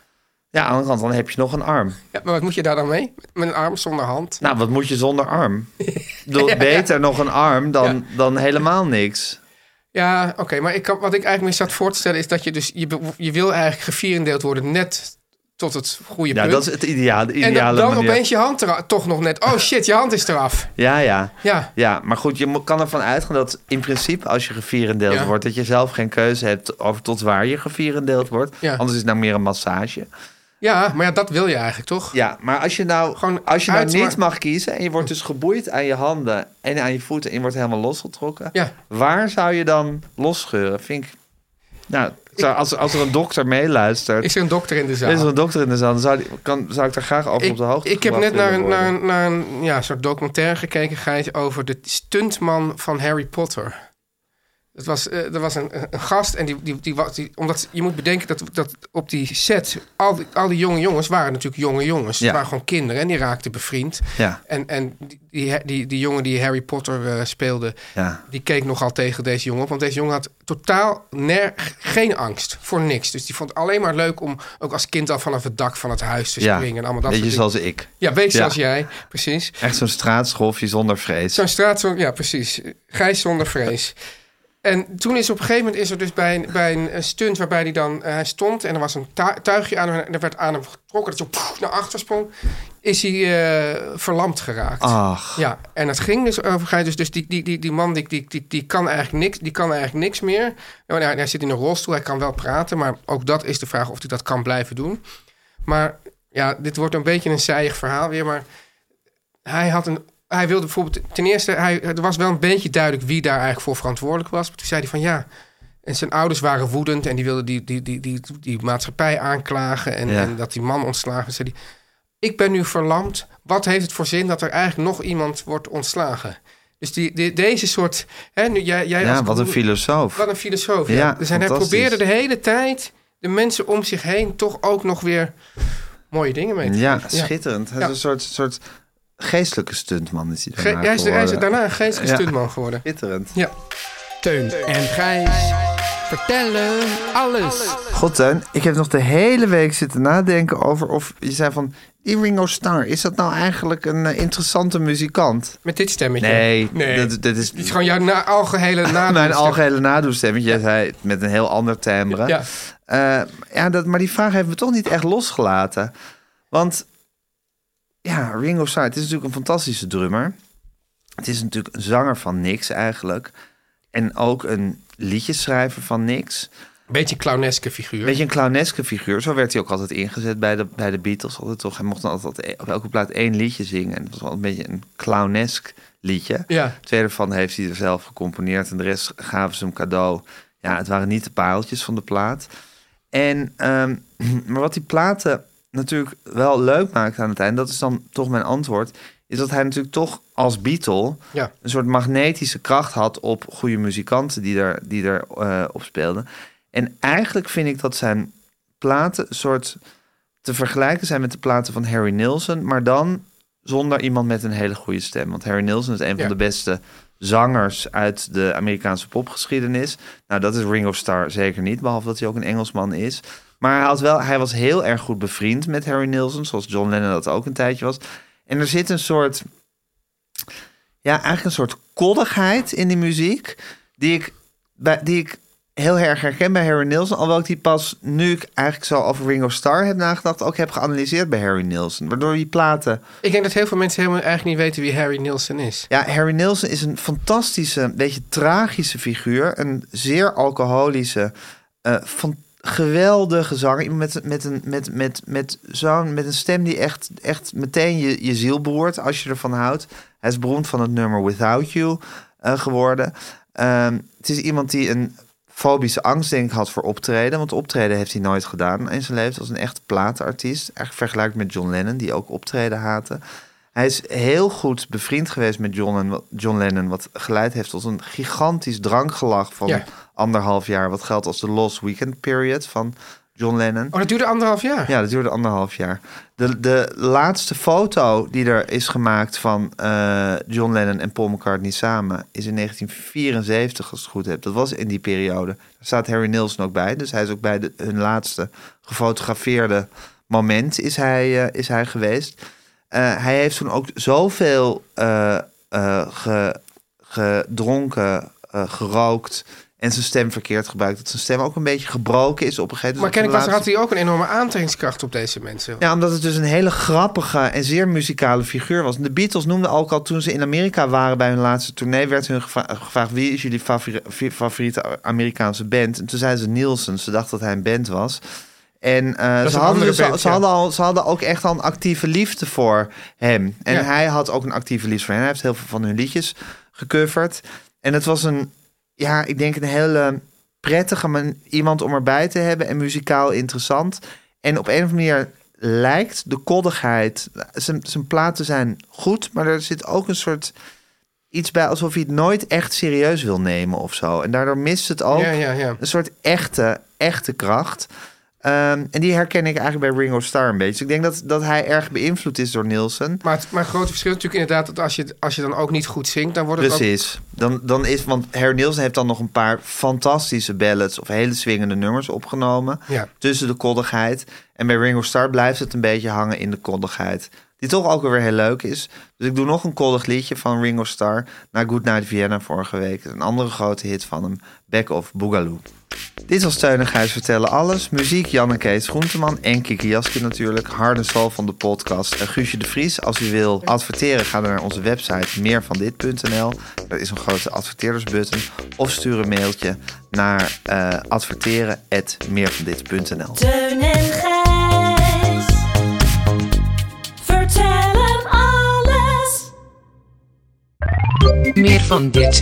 Ja, aan de andere kant, dan heb je nog een arm. Ja, maar wat moet je daar dan mee? Met een arm zonder hand? Nou, wat moet je zonder arm? Ik bedoel, Beter nog een arm dan, dan helemaal niks. Ja, oké. maar ik kan, wat ik eigenlijk me zat voor te stellen is dat je dus... Je, be- je wil eigenlijk gevierendeeld worden net tot het goede Ja, punt. dat is het ideaal, de en ideale dan, dan manier. opeens je hand er toch nog net... Oh shit, je hand is eraf. Ja, ja. Ja. Ja, maar goed, je mo- kan ervan uitgaan dat in principe als je gevierendeeld Ja. wordt... dat je zelf geen keuze hebt over tot waar je gevierendeeld wordt. Ja. Anders is het nou meer een massage. Ja, maar ja, dat wil je eigenlijk toch? Ja, maar als je nou, Gewoon als je nou uit- niet mag kiezen en je wordt dus geboeid aan je handen en aan je voeten en je wordt helemaal losgetrokken, Ja. waar zou je dan losscheuren? Vind ik. Nou, zou, als, als er een dokter meeluistert, Is er een dokter in de zaal? is er een dokter in de zaal, dan zou, die, kan, zou ik daar graag over op ik, de hoogte ik heb gebracht net naar willen een, naar worden. een, naar een ja, soort documentaire gekeken, Gijs, over de stuntman van Harry Potter. Het was, eh, er was een, een gast en die, die, die, was- die- omdat je moet bedenken dat, dat op die set al die, al die jonge jongens waren natuurlijk jonge jongens. Ja. Het waren gewoon kinderen en die raakten bevriend. Ja. En, en die, die, die, die jongen die Harry Potter eh, speelde, Ja. die keek nogal tegen deze jongen op. Want deze jongen had totaal ner, geen angst voor niks. Dus die vond het alleen maar leuk om ook als kind al vanaf het dak van het huis te Ja, springen. En allemaal dat Beetje soort dingen. zoals ik. Ja, wees Ja. zoals jij, precies. Echt zo'n straatscholfje zonder vrees. Zo'n straat, zo- ja, precies. Gijs zonder vrees. En toen is op een gegeven moment is er dus bij een, bij een eh, stunt waarbij hij dan eh, hij stond en er was een tu- tuigje aan hem en er werd aan hem getrokken dat hij zo poef naar achter sprong, is hij eh, verlamd geraakt. Ach, Ja, en dat ging dus over Gijs. Dus, dus die, die, die, die man die, die, die, die, kan eigenlijk niks, die kan eigenlijk niks meer. Nou, hij, hij zit in een rolstoel, hij kan wel praten. Maar ook dat is de vraag of hij dat kan blijven doen. Maar ja, dit wordt een beetje een zijig verhaal weer. Maar hij had een. Hij wilde bijvoorbeeld. Ten eerste, hij, er was wel een beetje duidelijk wie daar eigenlijk voor verantwoordelijk was. Maar toen zei hij van ja. En zijn ouders waren woedend en die wilden die, die, die, die, die maatschappij aanklagen. En, Ja. en dat die man ontslagen. was. Zei hij, ik ben nu verlamd. Wat heeft het voor zin dat er eigenlijk nog iemand wordt ontslagen? Dus die, die- deze soort. Hè, nu, jij, jij ja, als- wat een filosoof. wat een filosoof. Ja, Ja, dus hij fantastisch. probeerde de hele tijd de mensen om zich heen toch ook nog weer mooie dingen mee te Ja, geven. schitterend. Hij is Ja. een soort, soort geestelijke stuntman is hij Ge- daarna hij, is, hij is geworden. daarna een geestelijke Ja. stuntman geworden. Schitterend. Ja. Teun en Gijs vertellen alles. God, Teun, ik heb nog de hele week zitten nadenken over of je zei van... Die Ringo Starr, is dat nou eigenlijk een eh, interessante muzikant? Met dit stemmetje. Nee, nee. dat- dat is- Het is gewoon jouw na, algehele naam. Mijn algehele nadoestemmetje, jij zei het met een heel ander timbre. Ja. Eh, ja dat, maar die vraag heeft me toch niet echt losgelaten. Want ja, Ringo Starr, het is natuurlijk een fantastische drummer. Het is natuurlijk een zanger van niks eigenlijk. En ook een liedjeschrijver van niks. Beetje een clowneske figuur. Weet je, een clowneske figuur. Zo werd hij ook altijd ingezet bij de, bij de Beatles. Altijd toch. Hij mocht dan altijd e- op elke plaat één liedje zingen. En dat was wel een beetje een clownesk liedje. Ja. Twee daarvan heeft hij er zelf gecomponeerd. En de rest gaven ze hem cadeau. Ja, het waren niet de paaltjes van de plaat. En, ehm, maar wat die platen natuurlijk wel leuk maakt aan het eind... dat is dan toch mijn antwoord... is dat hij natuurlijk toch als Beatle... Ja. een soort magnetische kracht had op goede muzikanten die er, die er eh, op speelden. En eigenlijk vind ik dat zijn platen een soort te vergelijken zijn met de platen van Harry Nilsson, maar dan zonder iemand met een hele goede stem. Want Harry Nilsson is een van Ja. de beste zangers uit de Amerikaanse popgeschiedenis. Nou, dat is Ringo Starr zeker niet, behalve dat hij ook een Engelsman is. Maar hij, had wel, hij was heel erg goed bevriend met Harry Nilsson, zoals John Lennon dat ook een tijdje was. En er zit een soort, ja, eigenlijk een soort koddigheid in die muziek, die ik, bij- die ik heel erg herken bij Harry Nilsson. Alhoewel ik die pas, nu ik eigenlijk zo over Ringo Starr heb nagedacht, ook heb geanalyseerd bij Harry Nilsson. Waardoor die platen Ik denk dat heel veel mensen helemaal eigenlijk niet weten wie Harry Nilsson is. ja, Harry Nilsson is een fantastische, een beetje tragische figuur. Een zeer alcoholische, eh, fan- geweldige zanger. Iemand met, met, een, met, met, met, zo'n, met een stem die echt, echt meteen je, je ziel beroert als je ervan houdt. Hij is beroemd van het nummer Without You eh, geworden. Ehm, het is iemand die een fobische angst denk ik had voor optreden. Want optreden heeft hij nooit gedaan in zijn leven. Als een echt platenartiest. Eigenlijk vergelijkt met John Lennon die ook optreden haatte. Hij is heel goed bevriend geweest met John, en, John Lennon. Wat geleid heeft tot een gigantisch drankgelach van Ja. anderhalf jaar. Wat geldt als de Lost Weekend Period van John Lennon. Oh, dat duurde anderhalf jaar. Ja, dus dat duurde anderhalf jaar. De, de laatste foto die er is gemaakt van eh, John Lennon en Paul McCartney samen... is in 1974, als ik het goed heb. Dat was in die periode. Daar staat Harry Nilsson ook bij. Dus hij is ook bij de, hun laatste gefotografeerde moment is hij, eh, is hij geweest. Eh, hij heeft toen ook zoveel eh, eh, ge- gedronken, eh, gerookt... en zijn stem verkeerd gebruikt... dat zijn stem ook een beetje gebroken is op een gegeven Maar moment. Dus op de ken ik was, laatste- had hij ook een enorme aantrekkingskracht op deze mensen. ja, omdat het dus een hele grappige en zeer muzikale figuur was. En de Beatles noemden ook al toen ze in Amerika waren bij hun laatste tournee, werd hun gevra- gevraagd wie is jullie favori- fi- favoriete Amerikaanse band. En toen zeiden ze Nielsen. Ze dachten dat hij een band was. En eh, is ze, een hadden andere dus al- band, ze, ja. hadden al, ze hadden ook echt al een actieve liefde voor hem. En Ja. hij had ook een actieve liefde voor hen. Hij heeft heel veel van hun liedjes gecoverd. En het was een, ja, ik denk een hele prettige man, iemand om erbij te hebben en muzikaal interessant. En op een of andere manier lijkt de koddigheid, eh, zijn, zijn platen zijn goed, maar er zit ook een soort iets bij alsof hij het nooit echt serieus wil nemen of zo. En daardoor mist het ook Ja, ja, ja. een soort echte, echte kracht. Ehm, en die herken ik eigenlijk bij Ringo Starr een beetje. Dus ik denk dat, dat hij erg beïnvloed is door Nielsen. Maar het, maar het grote verschil is natuurlijk inderdaad dat als je, als je dan ook niet goed zingt, dan wordt het ook... Precies. Dan, dan is, want Harry Nielsen heeft dan nog een paar fantastische ballads... of hele swingende nummers opgenomen. Ja. Tussen de koddigheid. En bij Ringo Starr blijft het een beetje hangen in de koddigheid. Die toch ook alweer heel leuk is. Dus ik doe nog een koddig liedje van Ringo Starr... na Good Night Vienna vorige week. Een andere grote hit van hem. Back of Boogaloo. Dit was Teun en Gijs vertellen alles. Muziek Jan en Kees Groenteman en Kiki Jaski natuurlijk. Hard en soul van de podcast. En Guusje de Vries. Als u wil adverteren, ga dan naar onze website meervandit.nl. Daar is een grote adverteerdersbutton. Of stuur een mailtje naar eh adverteren.meervandit.nl Teun en Gijs. Vertel hem alles. Meer van dit.